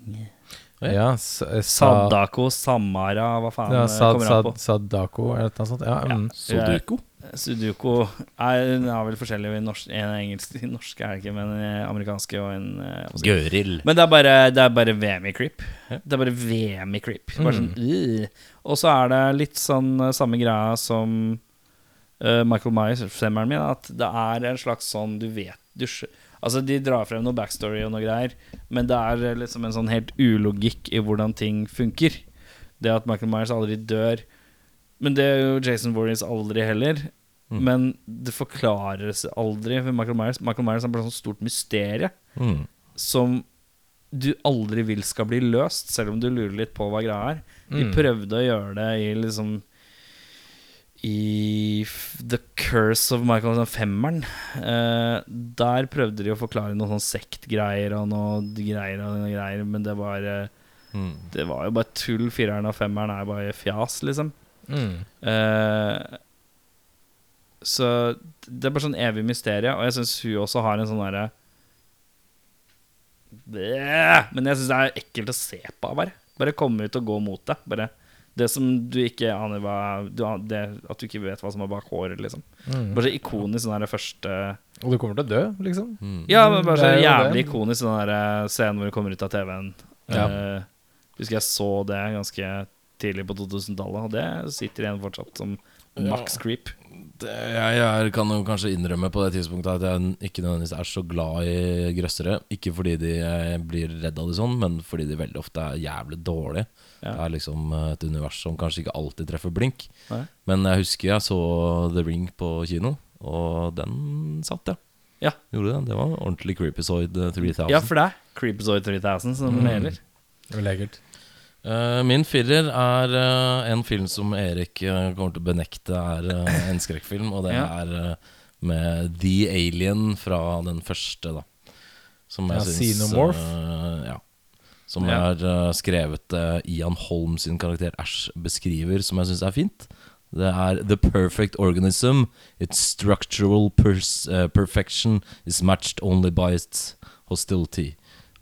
[SPEAKER 4] Oi.
[SPEAKER 3] Ja, s- eh, sa,
[SPEAKER 1] Sadako Samara, hva faen
[SPEAKER 3] ja,
[SPEAKER 1] eh,
[SPEAKER 3] sad,
[SPEAKER 1] kommer
[SPEAKER 3] sad,
[SPEAKER 1] han på?
[SPEAKER 3] Sadako, er det noe sånt? Ja, mm.
[SPEAKER 4] Sudoku.
[SPEAKER 1] Sudoku er, hun er vel forskjellig. i norsk- En er engelsk, en norsk er det ikke, men en amerikanske og en eh,
[SPEAKER 4] Gøril.
[SPEAKER 1] Men det er bare, det er bare VM i creep. Det er bare VM i creep. Bare sånn, «Ugh». Og så er det litt sånn eh, samme greia som eh, Michael Myers, femmeren min, at det er en slags sånn du vet du, skj- Altså, de drar frem noe backstory og noe greier, men det er eh, liksom en sånn helt ulogikk i hvordan ting funker. Det at Michael Myers aldri dør Men det er jo Jason Warriors aldri heller.
[SPEAKER 4] Mm.
[SPEAKER 1] Men det forklares aldri for Michael Myers. Michael Myers er bare et sånt stort mysterium
[SPEAKER 4] Mm.
[SPEAKER 1] som du aldri vil skal bli løst, selv om du lurer litt på hva greia er. De
[SPEAKER 3] Mm.
[SPEAKER 1] prøvde å gjøre det i liksom I f- The Curse of Michael sånn femmeren. Eh, der prøvde de å forklare noen sånn sektgreier og noe greier og noe greier, men det var, eh,
[SPEAKER 4] Mm.
[SPEAKER 1] det var jo bare tull. Fireren og femmeren er bare fjas, liksom.
[SPEAKER 3] Mm.
[SPEAKER 1] Eh, så det er bare sånn evig mysterie, og jeg syns hun også har en sånn derre Bleh! Men jeg syns det er ekkelt å se på, bare. Bare komme ut og gå mot det. Bare det som du ikke aner hva du, an- det, At du ikke vet hva som er bak håret, liksom.
[SPEAKER 3] Mm.
[SPEAKER 1] Bare så ikonisk sånn der første
[SPEAKER 3] Og du kommer til å dø, liksom?
[SPEAKER 4] Mm.
[SPEAKER 1] Ja, men bare så
[SPEAKER 3] Det er jo
[SPEAKER 1] jævlig
[SPEAKER 3] det.
[SPEAKER 1] ikonisk den der scenen hvor du kommer ut av TV-en.
[SPEAKER 3] Ja.
[SPEAKER 1] Eh, husker jeg så det ganske tidlig på 2000-tallet, og det sitter igjen fortsatt som max creep.
[SPEAKER 4] Det, eh, jeg, jeg kan jo kanskje innrømme på det tidspunktet at jeg ikke nødvendigvis er så glad i grøssere. Ikke fordi de jeg blir redd av de sånn, men fordi de veldig ofte er jævlig dårlige.
[SPEAKER 1] Ja.
[SPEAKER 4] Det er liksom eh, et univers som kanskje ikke alltid treffer blink.
[SPEAKER 1] Nei.
[SPEAKER 4] Men jeg husker jeg så The Ring på kino, og den satt, ja.
[SPEAKER 1] Ja.
[SPEAKER 4] Gjorde den. Det var en ordentlig creepyzoid eh, 3000.
[SPEAKER 1] Ja, for det er Creepzoid 3000 som det gjelder.
[SPEAKER 3] Det var lekkert.
[SPEAKER 4] Eh, min firer er eh, en film som Erik eh, kommer til å benekte er eh, en skrekkfilm, og det
[SPEAKER 1] Ja.
[SPEAKER 4] er eh, med The Alien fra den første, da. Som jeg
[SPEAKER 3] Ja,
[SPEAKER 4] syns
[SPEAKER 3] Xenomorph.
[SPEAKER 4] eh, ja. Som
[SPEAKER 1] Ja.
[SPEAKER 4] er eh, skrevet eh, Ian Holm sin karakter Ash beskriver, som jeg syns er fint. Det er The perfect organism. Its structural pers eh, perfection is matched only by its hostility.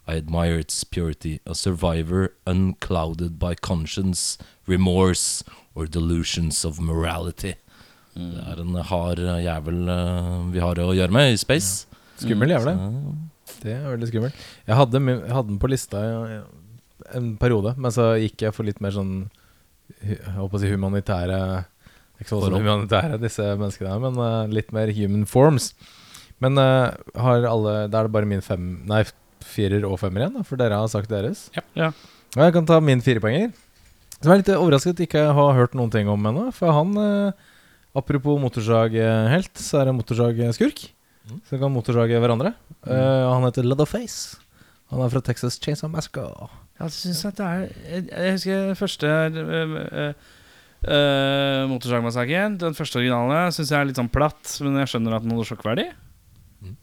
[SPEAKER 4] I admire its purity, a survivor unclouded by conscience, remorse or delusions of morality. Det er en hard eh, jævel eh, vi har å gjøre med i space. Eh.
[SPEAKER 3] Skummel jævel, det.
[SPEAKER 4] Så,
[SPEAKER 3] Det er veldig skummelt. Jeg hadde, min- jeg hadde den på lista ja, ja, en periode, men så gikk jeg for litt mer sånn hu- Jeg holdt på å si humanitære Ikke så
[SPEAKER 4] Forhold.
[SPEAKER 3] sånn humanitære, disse menneskene her, men eh, litt mer human forms. Men eh, har alle Da er det bare min fem Nei, firer og femmer igjen, da, for dere har sagt deres.
[SPEAKER 1] Ja.
[SPEAKER 3] Ja, jeg kan ta min firepoenger. Som jeg er litt overrasket ikke har hørt noen ting om ennå. For han, eh, apropos motorsaghelt, så er det motorsagskurk.
[SPEAKER 4] Mm.
[SPEAKER 3] Så kan motorsage hverandre. Eh, og han heter Leatherface. Han er fra Texas Chainsaw Massacre.
[SPEAKER 1] Jeg synes at det er Jeg, jeg husker første øh, øh, Motorsagmassakren. Den første originale syns jeg er litt sånn platt, men jeg skjønner at den hadde sjokkverdi.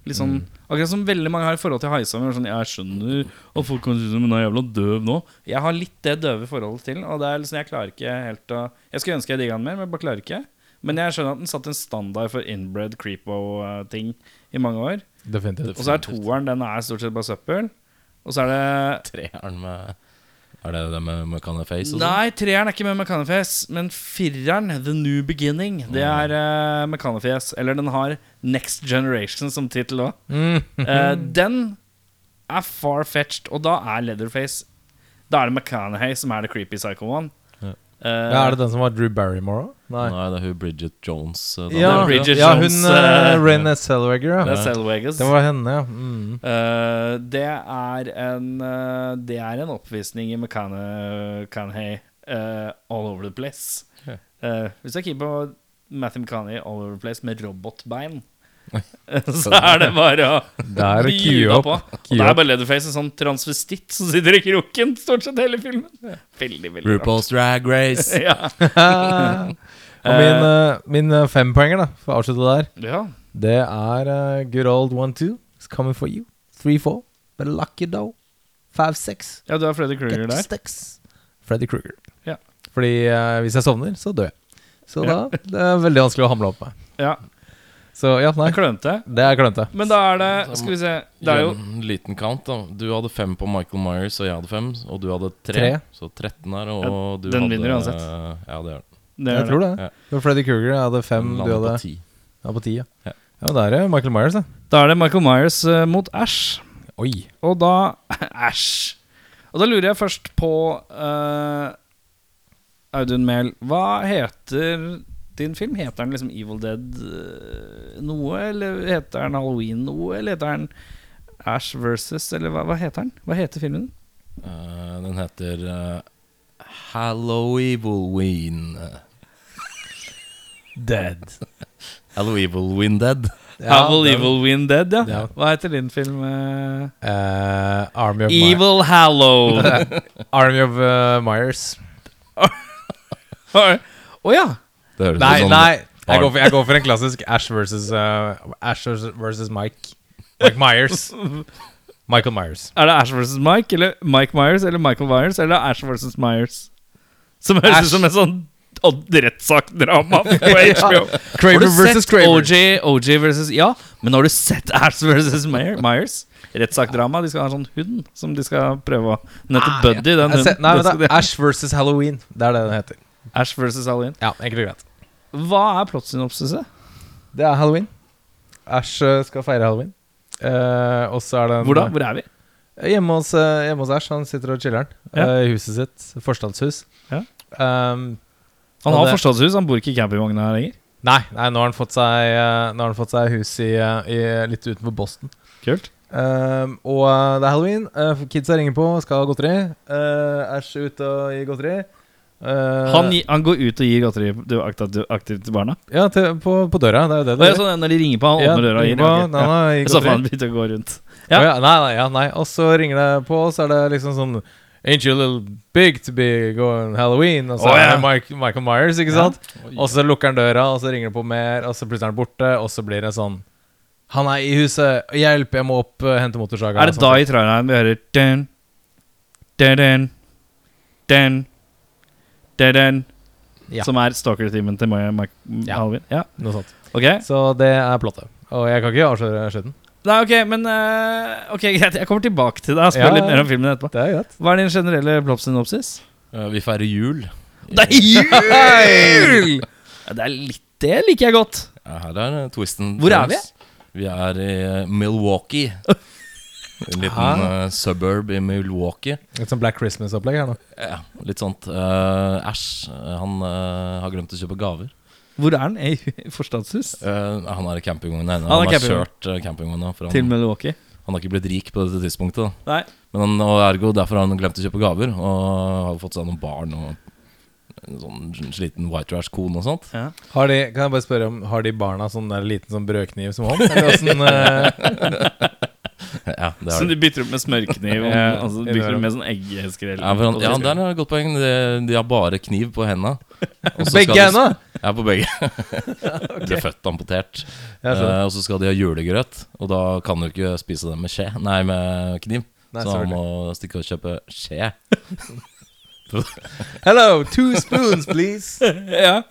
[SPEAKER 1] Litt sånn, Akkurat som veldig mange har i forhold til Highsummer. Sånn, jeg skjønner at folk kan synes hun er jævla døv nå. Jeg har litt det døve forholdet til Og det er liksom, jeg klarer ikke helt å Jeg skulle ønske jeg digga den mer, men jeg bare klarer ikke. Men jeg skjønner at den satte en standard for inbred creepo-ting i mange år.
[SPEAKER 3] Definitivt.
[SPEAKER 1] Og så er toeren den er stort sett bare søppel. Og så er det
[SPEAKER 4] Treeren med Er det det med Mechanic Face? og sånn?
[SPEAKER 1] Nei, treeren er ikke med Mechaniface, men fireren, The New Beginning, det er uh, Mechaniface. Eller den har Next Generation som tittel òg.
[SPEAKER 3] Mm.
[SPEAKER 1] Eh, den er far-fetched, og da er Leatherface Da er det McConaughey som er the creepy psycho one.
[SPEAKER 4] Ja.
[SPEAKER 1] Eh,
[SPEAKER 3] Ja, er det den som var Drew Barrymore òg?
[SPEAKER 4] Nei, det er hun Bridget Jones. eh, da.
[SPEAKER 3] Ja,
[SPEAKER 1] er Bridget
[SPEAKER 3] ja, hun
[SPEAKER 1] Jones,
[SPEAKER 3] uh,
[SPEAKER 1] eh,
[SPEAKER 3] Rene Selwager.
[SPEAKER 1] det
[SPEAKER 3] Ja.
[SPEAKER 1] er Selwages.
[SPEAKER 3] Det var henne, ja. Mm.
[SPEAKER 1] Eh, det er en eh, Det er en oppvisning i McCanhay all over the place.
[SPEAKER 4] Ja.
[SPEAKER 1] Eh, hvis jeg keen på Matthew McCanhay all over the place med robotbein, så er det bare å
[SPEAKER 3] Der
[SPEAKER 1] gyve
[SPEAKER 3] queue opp.
[SPEAKER 1] Og
[SPEAKER 3] Queue
[SPEAKER 1] det er
[SPEAKER 3] opp.
[SPEAKER 1] bare Leatherface, en sånn transvestitt som sitter i kroken stort sett hele filmen. Veldig, veldig rart.
[SPEAKER 4] RuPaul's Drag Race.
[SPEAKER 1] Ja.
[SPEAKER 3] og min, eh, min eh, fempoenger, da, for å avslutte der.
[SPEAKER 1] ja.
[SPEAKER 3] Det er eh, good old one two. It's coming for you. Three four. But lucky though. Five six.
[SPEAKER 1] ja, du har Freddy Kruger
[SPEAKER 3] Get
[SPEAKER 1] der.
[SPEAKER 3] sticks. Freddy Kruger.
[SPEAKER 1] Ja.
[SPEAKER 3] Fordi eh, hvis jeg sovner, så dør jeg. Så da det er veldig vanskelig å hamle opp med.
[SPEAKER 1] Ja,
[SPEAKER 3] Så ja, nei.
[SPEAKER 1] jeg klønte.
[SPEAKER 3] Det er klønete.
[SPEAKER 1] Men da er det Skal vi se. Det er jo
[SPEAKER 4] En liten kant, da. Du hadde fem på Michael Myers, og jeg hadde fem. Og du hadde tre.
[SPEAKER 3] Tre.
[SPEAKER 4] Så 13 her, og
[SPEAKER 1] Ja,
[SPEAKER 4] du
[SPEAKER 1] den
[SPEAKER 4] hadde
[SPEAKER 1] vinner uansett.
[SPEAKER 4] eh, Ja, det gjør den.
[SPEAKER 1] det er
[SPEAKER 3] Jeg
[SPEAKER 1] det.
[SPEAKER 3] tror det.
[SPEAKER 4] Ja.
[SPEAKER 3] Det var Freddy Kruger. Jeg hadde fem,
[SPEAKER 4] Den
[SPEAKER 3] du
[SPEAKER 4] lander på
[SPEAKER 3] hadde
[SPEAKER 4] ti.
[SPEAKER 3] ja, på ti. Ja.
[SPEAKER 4] Ja.
[SPEAKER 3] ja, men det er det. Michael Myers, da.
[SPEAKER 1] Da er det Michael Myers eh, mot Ash.
[SPEAKER 3] Oi.
[SPEAKER 1] Og da Æsj. Og da lurer jeg først på eh, Audun Mehl, hva heter din film? Heter den liksom Evil Dead eh, noe, eller heter den Halloween noe, eller heter den Ash versus, eller hva, hva heter den? Hva heter filmen?
[SPEAKER 4] Eh, den heter uh, Halloweevilween.
[SPEAKER 3] Dead.
[SPEAKER 4] Halloweevilween Dead.
[SPEAKER 3] Ja, den-
[SPEAKER 1] Win Dead,
[SPEAKER 3] Ja.
[SPEAKER 1] Hva heter din film? eh?
[SPEAKER 3] Eh, Army of Myers.
[SPEAKER 1] Evil Hallow.
[SPEAKER 3] Army of eh, Myers.
[SPEAKER 1] Å ja.
[SPEAKER 4] Det høres
[SPEAKER 3] Nei,
[SPEAKER 4] ut som
[SPEAKER 3] nei. Jeg går, for, jeg går for en klassisk Ash versus, eh, Ash versus Mike. Mike Myers. Michael Myers.
[SPEAKER 1] Er det Ash versus Mike, eller Mike Myers, eller Michael Myers, eller Ash versus Myers? Som høres
[SPEAKER 3] Ash.
[SPEAKER 1] ut som en sånn odd- rettssakdrama på HBO. Har
[SPEAKER 3] Kramer
[SPEAKER 1] du
[SPEAKER 3] versus
[SPEAKER 1] sett
[SPEAKER 3] Kramer.
[SPEAKER 1] OJ, OJ versus Ja, men har du sett Ash versus Meyer- Myers? Rettssakdrama. De skal ha en sånn hund som de skal prøve å Nettopp Buddy, den
[SPEAKER 3] Jeg ser-
[SPEAKER 1] hunden.
[SPEAKER 3] Nei,
[SPEAKER 1] Det
[SPEAKER 3] vent
[SPEAKER 1] skal
[SPEAKER 3] da. Ash versus Halloween. Det er det den heter.
[SPEAKER 1] de- Ash versus Halloween.
[SPEAKER 3] Ja, enkelt og greit.
[SPEAKER 1] Hva er plottsynopsiset?
[SPEAKER 3] Det er Halloween. Æsj eh, skal feire halloween. Eh, og så er det en-
[SPEAKER 1] Hvor da? Hvor er vi?
[SPEAKER 3] Hjemme hos, eh, hjemme hos Æsj. Han sitter og chiller'n
[SPEAKER 1] Ja.
[SPEAKER 3] eh, i huset sitt. Forstadshus.
[SPEAKER 1] Ja.
[SPEAKER 3] Um,
[SPEAKER 1] Han
[SPEAKER 3] Ja,
[SPEAKER 1] har
[SPEAKER 3] det-
[SPEAKER 1] forstadshus, han bor ikke i campingvogna her lenger.
[SPEAKER 3] nei, nei, nå har han fått seg, eh, nå har han fått seg hus i, eh, i, litt utenfor Boston.
[SPEAKER 1] Kult.
[SPEAKER 3] Um, og uh, det er halloween. Uh, kidsa ringer på, skal ha godteri. Uh, Æsj er ute og gir godteri. Uh,
[SPEAKER 1] Han, gi- han går ut og gir godteri du, aktivt, aktivt til barna?
[SPEAKER 3] Ja, til, på, på døra. Det er jo det
[SPEAKER 1] Og jeg, sånn, når de ringer på, han
[SPEAKER 3] Ja,
[SPEAKER 1] åpner døra og gir.
[SPEAKER 3] ringer på,
[SPEAKER 1] ok.
[SPEAKER 3] nei,
[SPEAKER 1] Ja.
[SPEAKER 3] nei, gir
[SPEAKER 1] Så
[SPEAKER 3] godteri.
[SPEAKER 1] faen begynte å gå rundt.
[SPEAKER 3] Ja.
[SPEAKER 1] Ja.
[SPEAKER 3] ja, nei, nei, ja, nei. Og så ringer det på, og så er det liksom sånn Ain't you a little big to be going Halloween? Og så
[SPEAKER 1] Å,
[SPEAKER 3] er
[SPEAKER 1] ja.
[SPEAKER 3] det Mike, Michael Myers, ikke
[SPEAKER 1] Ja.
[SPEAKER 3] sant? Og så lukker han døra, og så ringer det på mer, og så plutselig er han borte, og så blir det sånn Han er i huset, hjelp, jeg må opp, eh, hente motorsaga.
[SPEAKER 1] Er det
[SPEAKER 3] og
[SPEAKER 1] da
[SPEAKER 3] sånt.
[SPEAKER 1] i traileren vi hører dun, dun, dun, dun, dun, dun,
[SPEAKER 3] Ja.
[SPEAKER 1] Som er stalker-timen til Mike, Mike
[SPEAKER 3] Ja.
[SPEAKER 1] Alvin? Ja.
[SPEAKER 3] Noe sånt.
[SPEAKER 1] Ok.
[SPEAKER 3] Så det er plottet. Og jeg kan ikke avsløre slutten.
[SPEAKER 1] Nei, ok, men eh, Ok, greit. Jeg kommer tilbake til deg og spør
[SPEAKER 3] Ja,
[SPEAKER 1] litt
[SPEAKER 3] ja.
[SPEAKER 1] mer om filmen etterpå.
[SPEAKER 3] Det er greit.
[SPEAKER 1] Hva er din generelle plottsynopsis?
[SPEAKER 4] Eh, Vi feirer jul.
[SPEAKER 1] Det er jul! ja, det er litt Det liker jeg godt.
[SPEAKER 4] Ja, Her er eh, twisten.
[SPEAKER 1] Hvor er
[SPEAKER 4] Tales. Vi er i eh, Milwaukee. En liten
[SPEAKER 3] Ah.
[SPEAKER 4] eh, suburb i Milwaukee.
[SPEAKER 3] Litt sånn Black Christmas-opplegg her nå.
[SPEAKER 4] Ja, litt sånt. Eh, Æsj, han eh, har glemt å kjøpe gaver.
[SPEAKER 1] Hvor er den? I forstadshus?
[SPEAKER 4] Eh, han er i campingvogn.
[SPEAKER 1] Han
[SPEAKER 4] Han,
[SPEAKER 1] er
[SPEAKER 4] han har
[SPEAKER 1] campingvogn.
[SPEAKER 4] kjørt eh, campingvogna. for
[SPEAKER 1] Til
[SPEAKER 4] Han,
[SPEAKER 1] Milwaukee?
[SPEAKER 4] han har ikke blitt rik på dette tidspunktet. Da.
[SPEAKER 1] Nei.
[SPEAKER 4] Men han, og ergo derfor har han glemt å kjøpe gaver, og har fått seg noen barn og en sånn sliten white trash-kone og sånt.
[SPEAKER 1] Ja.
[SPEAKER 3] Har de, kan jeg bare spørre om Har de barna sånn der liten sånn brødkniv som hånd? Eller åssen eh,
[SPEAKER 4] Ja, det
[SPEAKER 1] Som
[SPEAKER 4] er
[SPEAKER 1] de
[SPEAKER 4] det.
[SPEAKER 1] bytter opp med smørkniv? Og,
[SPEAKER 3] Ja,
[SPEAKER 1] altså, de bytter opp med sånn eggeskrell?
[SPEAKER 4] Ja, for han, ja, det er et godt poeng. De, de har bare kniv på henda. Og så skal
[SPEAKER 3] Begge
[SPEAKER 4] de-
[SPEAKER 3] hendene!
[SPEAKER 4] Ja, på begge. Ble født amputert.
[SPEAKER 3] Ja, sånn.
[SPEAKER 4] Eh, og så skal de ha julegrøt, og da kan du ikke spise det med skje Nei, med kniv.
[SPEAKER 3] Nei,
[SPEAKER 4] så han
[SPEAKER 3] selvfølgelig.
[SPEAKER 4] må stikke og kjøpe skje.
[SPEAKER 3] Hello, two spoons, please.
[SPEAKER 1] ja,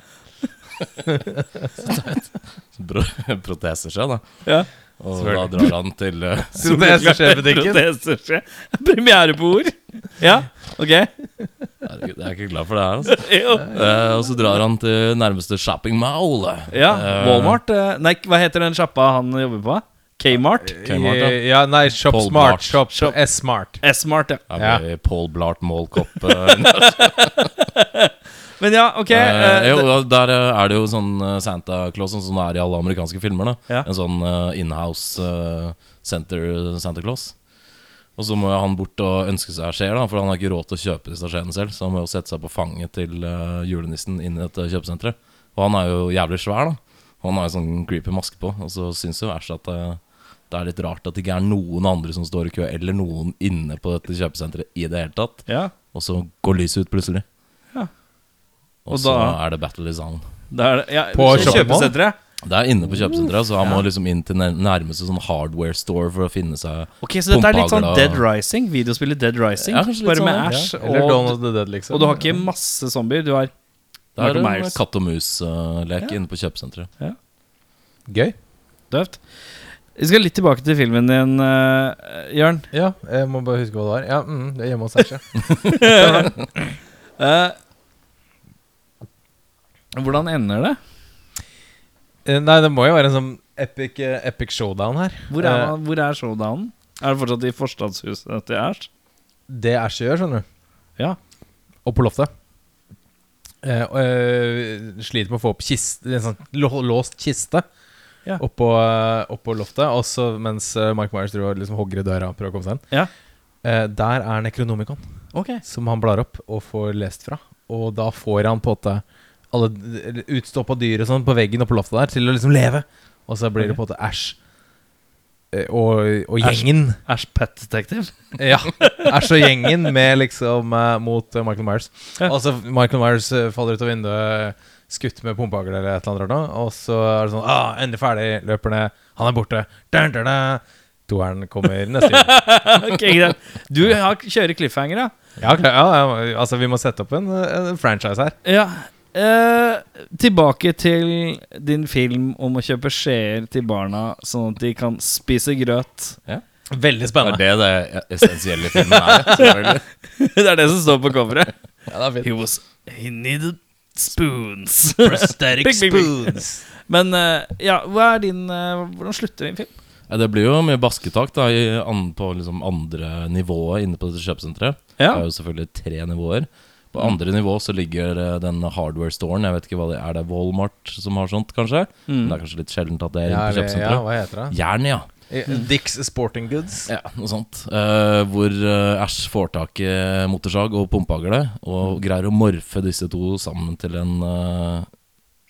[SPEAKER 4] Pro- Proteseskje, da.
[SPEAKER 1] ja.
[SPEAKER 4] Og da
[SPEAKER 3] Selvfølgelig.
[SPEAKER 4] drar han til eh,
[SPEAKER 3] Som det som skjer i butikken.
[SPEAKER 1] Proteseskje. Premiere på ord. Ja, ok.
[SPEAKER 4] Herregud, Jeg er ikke glad for det her, altså.
[SPEAKER 1] Jo.
[SPEAKER 4] Eh, og så drar han til nærmeste shopping mall.
[SPEAKER 1] Ja,
[SPEAKER 4] Eh,
[SPEAKER 1] Walmart eh, Nei, hva heter den sjappa han jobber på? Kmart?
[SPEAKER 4] Kmart, ja.
[SPEAKER 3] Ja, nei, Shop
[SPEAKER 4] Paul
[SPEAKER 3] Smart.
[SPEAKER 4] Blart.
[SPEAKER 3] Shop, S-Smart.
[SPEAKER 1] S-Mart, ja.
[SPEAKER 4] Her
[SPEAKER 3] Ja.
[SPEAKER 4] blir Paul Blart Mall Cop. eh,
[SPEAKER 1] Men ja, ok. eh,
[SPEAKER 4] eh, jo, og der eh, er det jo sånn eh, Santa Claus sånn som det er i alle amerikanske filmer. Da.
[SPEAKER 1] Ja.
[SPEAKER 4] En sånn eh, inhouse eh, center Santa Claus. Og så må jo han bort og ønske seg skjeer, da, for han har ikke råd til å kjøpe disse skjeene selv. Så han må jo sette seg på fanget til eh, julenissen inne i dette kjøpesenteret. Og han er jo jævlig svær, da. Og han har jo sånn creepy maske på. Og så syns jo Æsj at eh, det er litt rart at det ikke er noen andre som står i kø, eller noen inne på dette kjøpesenteret i det hele tatt.
[SPEAKER 1] ja.
[SPEAKER 4] Og så går lyset ut plutselig.
[SPEAKER 1] Ja.
[SPEAKER 4] Og,
[SPEAKER 1] Og
[SPEAKER 4] så
[SPEAKER 1] da-
[SPEAKER 4] er det battle i salen.
[SPEAKER 1] Da er det, ja
[SPEAKER 3] På
[SPEAKER 1] så
[SPEAKER 3] shopping mall?
[SPEAKER 1] kjøpesenteret?
[SPEAKER 4] Det er inne på kjøpesenteret, så han må liksom inn til nær- nærmeste sånn hardware store for å finne seg
[SPEAKER 1] Ok, Så dette er litt sånn
[SPEAKER 4] Pumpehagla.
[SPEAKER 1] Dead Rising? Videospillet Dead Rising?
[SPEAKER 4] Ja, kanskje litt
[SPEAKER 1] bare med
[SPEAKER 4] sånn, ja.
[SPEAKER 1] Ash
[SPEAKER 3] Eller
[SPEAKER 1] og,
[SPEAKER 3] Donald the Dead, liksom.
[SPEAKER 1] og du har ikke masse zombier? Du har
[SPEAKER 4] Det er
[SPEAKER 1] Michael
[SPEAKER 4] en
[SPEAKER 1] Myers.
[SPEAKER 4] katt og mus-lek
[SPEAKER 1] Ja.
[SPEAKER 4] inne på kjøpesenteret.
[SPEAKER 3] Gøy.
[SPEAKER 1] døvt? Vi skal litt tilbake til filmen din, eh, Jørn.
[SPEAKER 3] Ja, jeg må bare huske hva det var. Ja, mm, det er hjemme hos Æsja.
[SPEAKER 1] Eh, hvordan ender det?
[SPEAKER 3] Eh, Nei, det må jo være en sånn epic, eh, epic showdown her.
[SPEAKER 1] Hvor er,
[SPEAKER 3] Eh,
[SPEAKER 1] man- hvor er showdownen? Er det fortsatt i forstadshuset til Ash?
[SPEAKER 3] Det Æsja gjør, skjønner du.
[SPEAKER 1] Ja.
[SPEAKER 3] Og på loftet. Eh, og, eh, sliter med å få opp kiste, en sånn lå- låst kiste
[SPEAKER 1] Ja.
[SPEAKER 3] oppå, eh, oppå loftet. Også mens eh, Mike Myers driver og liksom hogger i døra og prøver å komme seg inn.
[SPEAKER 1] Ja.
[SPEAKER 3] Eh, der er Necronomicon,
[SPEAKER 1] Ok
[SPEAKER 3] som han blar opp og får lest fra. Og da får han på en måte alle d- utstoppa dyr og sånn på veggen og på loftet der til å liksom leve. Og så blir det på en måte Æsj eh, og, og
[SPEAKER 1] Ash.
[SPEAKER 3] gjengen.
[SPEAKER 1] Ash Pet Detective?
[SPEAKER 3] Ja. Er så gjengen med liksom eh, mot eh, Michael Myers.
[SPEAKER 1] Ja.
[SPEAKER 3] Altså, Michael Myers eh, faller ut av vinduet, skutt med pumpehagle eller et eller annet. rart nå, Og så er det sånn ah, Endelig ferdig. Løper ned. Han er borte. Dun, dun, dun. Toeren kommer neste uke.
[SPEAKER 1] ok, greit. Du har, kjører cliffhanger, ja?
[SPEAKER 3] Ja, klar, ja, ja, altså, vi må sette opp en, en franchise her.
[SPEAKER 1] Ja. Eh, tilbake til din film om å kjøpe skjeer til barna, sånn at de kan spise grøt.
[SPEAKER 3] Veldig
[SPEAKER 4] Det er det det e- essensielle i filmen er. selvfølgelig.
[SPEAKER 1] det er det som står på coveret.
[SPEAKER 3] Ja, det er
[SPEAKER 1] He was He needed spoons.
[SPEAKER 3] Prosthetic
[SPEAKER 1] Bing, bing, bing.
[SPEAKER 3] spoons.
[SPEAKER 1] Men eh, ja, hva er din eh, Hvordan slutter din film?
[SPEAKER 4] Ja, det blir jo mye basketak da, i, an, på liksom andre nivået inne på dette kjøpesenteret.
[SPEAKER 1] Ja. Mm.
[SPEAKER 4] Det er jo selvfølgelig tre nivåer. På andre nivå så ligger eh, den hardware-storen. Jeg vet ikke hva det er. Det er Walmart som har sånt, kanskje? Men
[SPEAKER 1] Mm.
[SPEAKER 4] det er kanskje litt sjeldent at det er
[SPEAKER 3] Ja,
[SPEAKER 4] inne på
[SPEAKER 3] eller- ja,
[SPEAKER 4] kjøpesenteret.
[SPEAKER 3] hva heter det?
[SPEAKER 4] Jern, ja.
[SPEAKER 3] Eh, Dicks Sporting Goods.
[SPEAKER 4] Ja, noe sånt. Eh, hvor eh, Ash får tak i eh, motorsag og pumpehagle, og greier å morfe disse to sammen til en eh,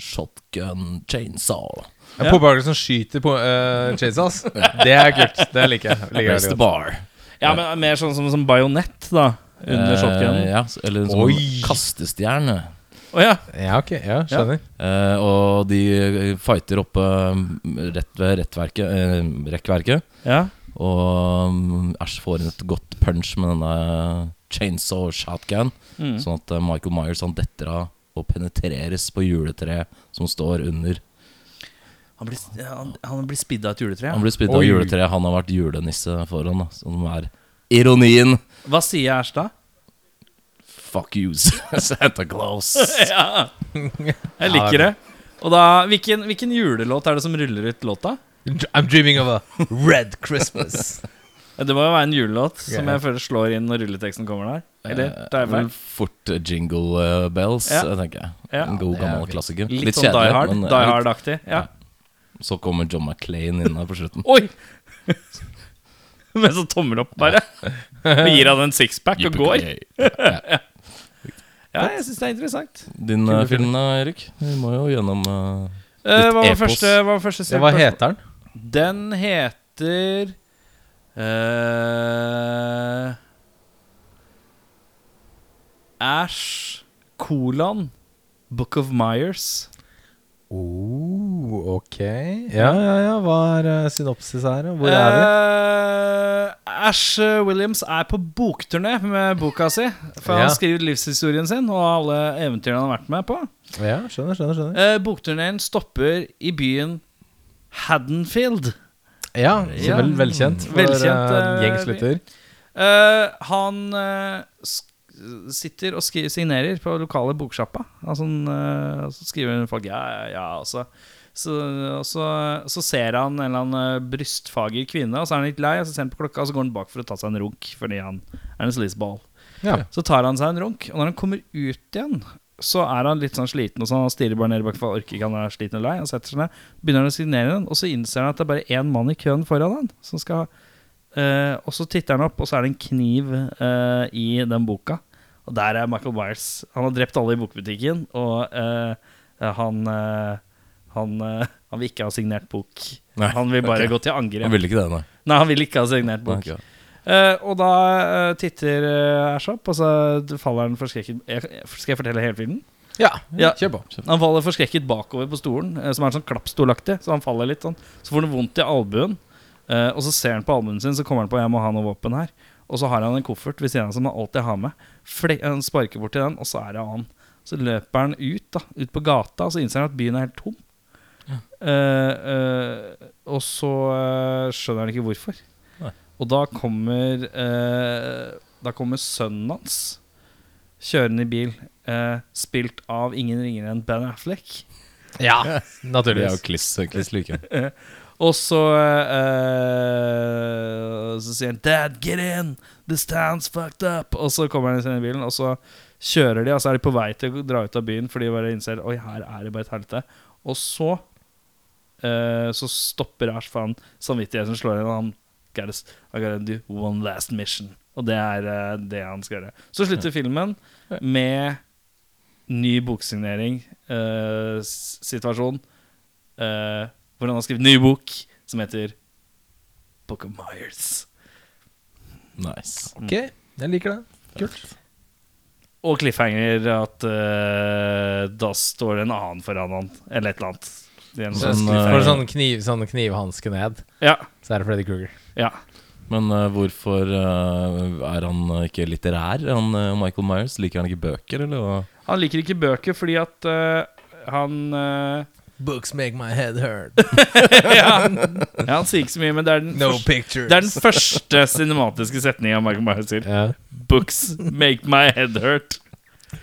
[SPEAKER 4] shotgun chainsaw. da.
[SPEAKER 3] Ja. Pumpehagle som skyter på uh, chainsaws. Det er kult. Det liker jeg. Liker
[SPEAKER 4] Raise
[SPEAKER 3] jeg
[SPEAKER 4] the
[SPEAKER 3] veldig godt.
[SPEAKER 4] bar.
[SPEAKER 1] Ja, men Mer sånn som, som bajonett, da. Under
[SPEAKER 4] Eh,
[SPEAKER 1] shotgunen. Å ja.
[SPEAKER 4] ja, s- eller en
[SPEAKER 3] Oi.
[SPEAKER 4] sånn kastestjerne.
[SPEAKER 3] Ja, ok. Ja, skjønner.
[SPEAKER 4] Eh, og de fighter oppe eh, rett ved rettverket, eh, rekkverket.
[SPEAKER 1] ja.
[SPEAKER 4] Og mm, Ash får inn et godt punch med denne eh, chainsaw shotgun.
[SPEAKER 1] Mm.
[SPEAKER 4] Sånn at eh, Michael Myers han detter av og penetreres på juletreet som står under.
[SPEAKER 1] Han blir, han, han blir spidda av et juletre.
[SPEAKER 4] Han blir spydd av
[SPEAKER 3] Oi.
[SPEAKER 4] juletreet han har vært julenisse foran, da, som er ironien.
[SPEAKER 1] Hva sier Ash da?
[SPEAKER 4] Fuck you, Santa Claus.
[SPEAKER 1] ja. Jeg liker det. Og da, hvilken, hvilken julelåt er det som ruller ut låta?
[SPEAKER 3] I'm dreaming of a red Christmas.
[SPEAKER 1] Det må jo være en julelåt som
[SPEAKER 3] Ja.
[SPEAKER 1] jeg føler slår inn når rulleteksten kommer der. Eller?
[SPEAKER 4] Eh,
[SPEAKER 1] Det er vel
[SPEAKER 4] vel fort eh, jingle eh, bells,
[SPEAKER 1] Ja.
[SPEAKER 4] eh, tenker jeg.
[SPEAKER 1] Ja.
[SPEAKER 4] En god,
[SPEAKER 3] det er
[SPEAKER 4] gammel
[SPEAKER 3] fint.
[SPEAKER 4] klassiker.
[SPEAKER 1] litt, sånn Die Hard.
[SPEAKER 4] men, eh,
[SPEAKER 1] Die Hard-aktig. Ja.
[SPEAKER 4] Ja. Så kommer John McClain inn her på slutten.
[SPEAKER 1] Oi! Med sånn tommel opp, bare. Og gir han en sixpack og går.
[SPEAKER 4] Yippee-ki-yay. Ja, ja.
[SPEAKER 1] Ja, jeg syns det er interessant.
[SPEAKER 4] Din eh, film, da, Erik? Vi må jo gjennom eh,
[SPEAKER 1] Eh,
[SPEAKER 4] Litt
[SPEAKER 1] hva var
[SPEAKER 4] epos.
[SPEAKER 1] første, hva var første
[SPEAKER 3] Ja, hva
[SPEAKER 1] spørsmål?
[SPEAKER 3] heter den?
[SPEAKER 1] Den heter eh, Ash kolon Book of Myers.
[SPEAKER 3] Oh, ok. Ja, ja, ja. Hva er eh, synopsis her? og Hvor er vi?
[SPEAKER 1] Eh, Ash Williams er på bokturné med boka si. For
[SPEAKER 3] Ja.
[SPEAKER 1] han skriver livshistorien sin og alle eventyrene han har vært med på.
[SPEAKER 3] Ja, skjønner, skjønner. skjønner
[SPEAKER 1] Uh, Bokturneen stopper i byen Haddonfield.
[SPEAKER 3] Ja, så
[SPEAKER 1] Ja.
[SPEAKER 3] vel, velkjent for
[SPEAKER 1] Velkjent,
[SPEAKER 3] eh,
[SPEAKER 1] eh,
[SPEAKER 3] en gjeng slutter.
[SPEAKER 1] Eh, han eh, sk sitter og skri signerer på lokale boksjappa. Altså, han, eh, så skriver folk ja, ja, ja. Og så, så, og så, så ser han en eller annen eh, brystfager kvinne, og så er han litt lei. Og så ser han på klokka, og så går han bak for å ta seg en runk fordi han er en sleazeball.
[SPEAKER 3] Ja.
[SPEAKER 1] Så tar han seg en runk, og når han kommer ut igjen, så er han litt sånn sliten. Og så han stirrer bare ned bak, for han orker ikke, han er sliten og lei. Han setter seg ned, begynner han å signere den, og så innser han at det er bare én mann i køen foran han som skal eh, Og så titter han opp, og så er det en kniv eh, i den boka. Og der er Michael Myers. Han har drept alle i bokbutikken, og eh, han eh, han, eh, han vil ikke ha signert bok.
[SPEAKER 4] Nei,
[SPEAKER 1] han vil bare
[SPEAKER 4] ok.
[SPEAKER 1] gå til
[SPEAKER 4] Han
[SPEAKER 1] angrep.
[SPEAKER 4] ville ikke det, nei.
[SPEAKER 1] Nei, han vil ikke ha signert bok.
[SPEAKER 4] Ok.
[SPEAKER 1] Eh, og da eh, titter uh, Ash opp, og så faller han forskrekket jeg, jeg- Skal jeg fortelle hele filmen?
[SPEAKER 3] Ja,
[SPEAKER 1] Ja.
[SPEAKER 3] kjør på.
[SPEAKER 1] Han faller forskrekket bakover på stolen, eh, som er sånn klappstolaktig. Så han faller litt sånn. Så får han vondt i albuen, eh, og så ser han på albuen sin, så kommer han på 'jeg må ha noe våpen her'. Og så har han en koffert ved siden av som han alltid har med. Fle eh, han sparker bort til den, og så er det han. Så løper han ut, da, ut på gata, og så innser han at byen er helt tom. Eh, eh, og så eh, skjønner han ikke hvorfor.
[SPEAKER 4] Nei.
[SPEAKER 1] Og da kommer eh, Da kommer sønnen hans kjørende i bil, eh, spilt av ingen ringere enn Ben Affleck.
[SPEAKER 3] Ja,
[SPEAKER 4] Det er jo
[SPEAKER 3] naturligvis.
[SPEAKER 4] kliss, kliss like.
[SPEAKER 1] Og så eh, Så sier han 'Dad, get in! This town's fucked up!' Og så kommer han inn i bilen, og så kjører de, og så er de på vei til å dra ut av byen fordi de bare innser 'Oi, her er det bare et helvete'. Og så eh, Så stopper Ash, for han samvittigheten slår inn, og han gotta, s- I gotta do one last mission. Og det er eh, det han skal gjøre. Så slutter filmen med ny boksignering-situasjon. Eh, hvor han har skrevet ny bok som heter Book of Myers.
[SPEAKER 4] Nice.
[SPEAKER 3] Ok, jeg liker det. Kult.
[SPEAKER 1] Og cliffhanger at eh, da står det en annen foran han, eller et eller annet. Det er en
[SPEAKER 4] Sånn,
[SPEAKER 1] sånn-
[SPEAKER 4] eh,
[SPEAKER 3] For sånn, kniv, sånn knivhanske ned,
[SPEAKER 1] ja,
[SPEAKER 3] så er det Freddy Kruger.
[SPEAKER 1] ja.
[SPEAKER 4] Men eh, hvorfor eh, er han eh, ikke litterær, han eh, Michael Myers? Liker han ikke bøker, eller hva?
[SPEAKER 1] Han liker ikke bøker fordi at eh, han eh,
[SPEAKER 3] Books make my head hurt.
[SPEAKER 1] ja, ja, han sier ikke så mye, men det er den, første-
[SPEAKER 3] pictures.
[SPEAKER 1] det er den første cinematiske setningen av Michael Myers sier. Books make my head hurt.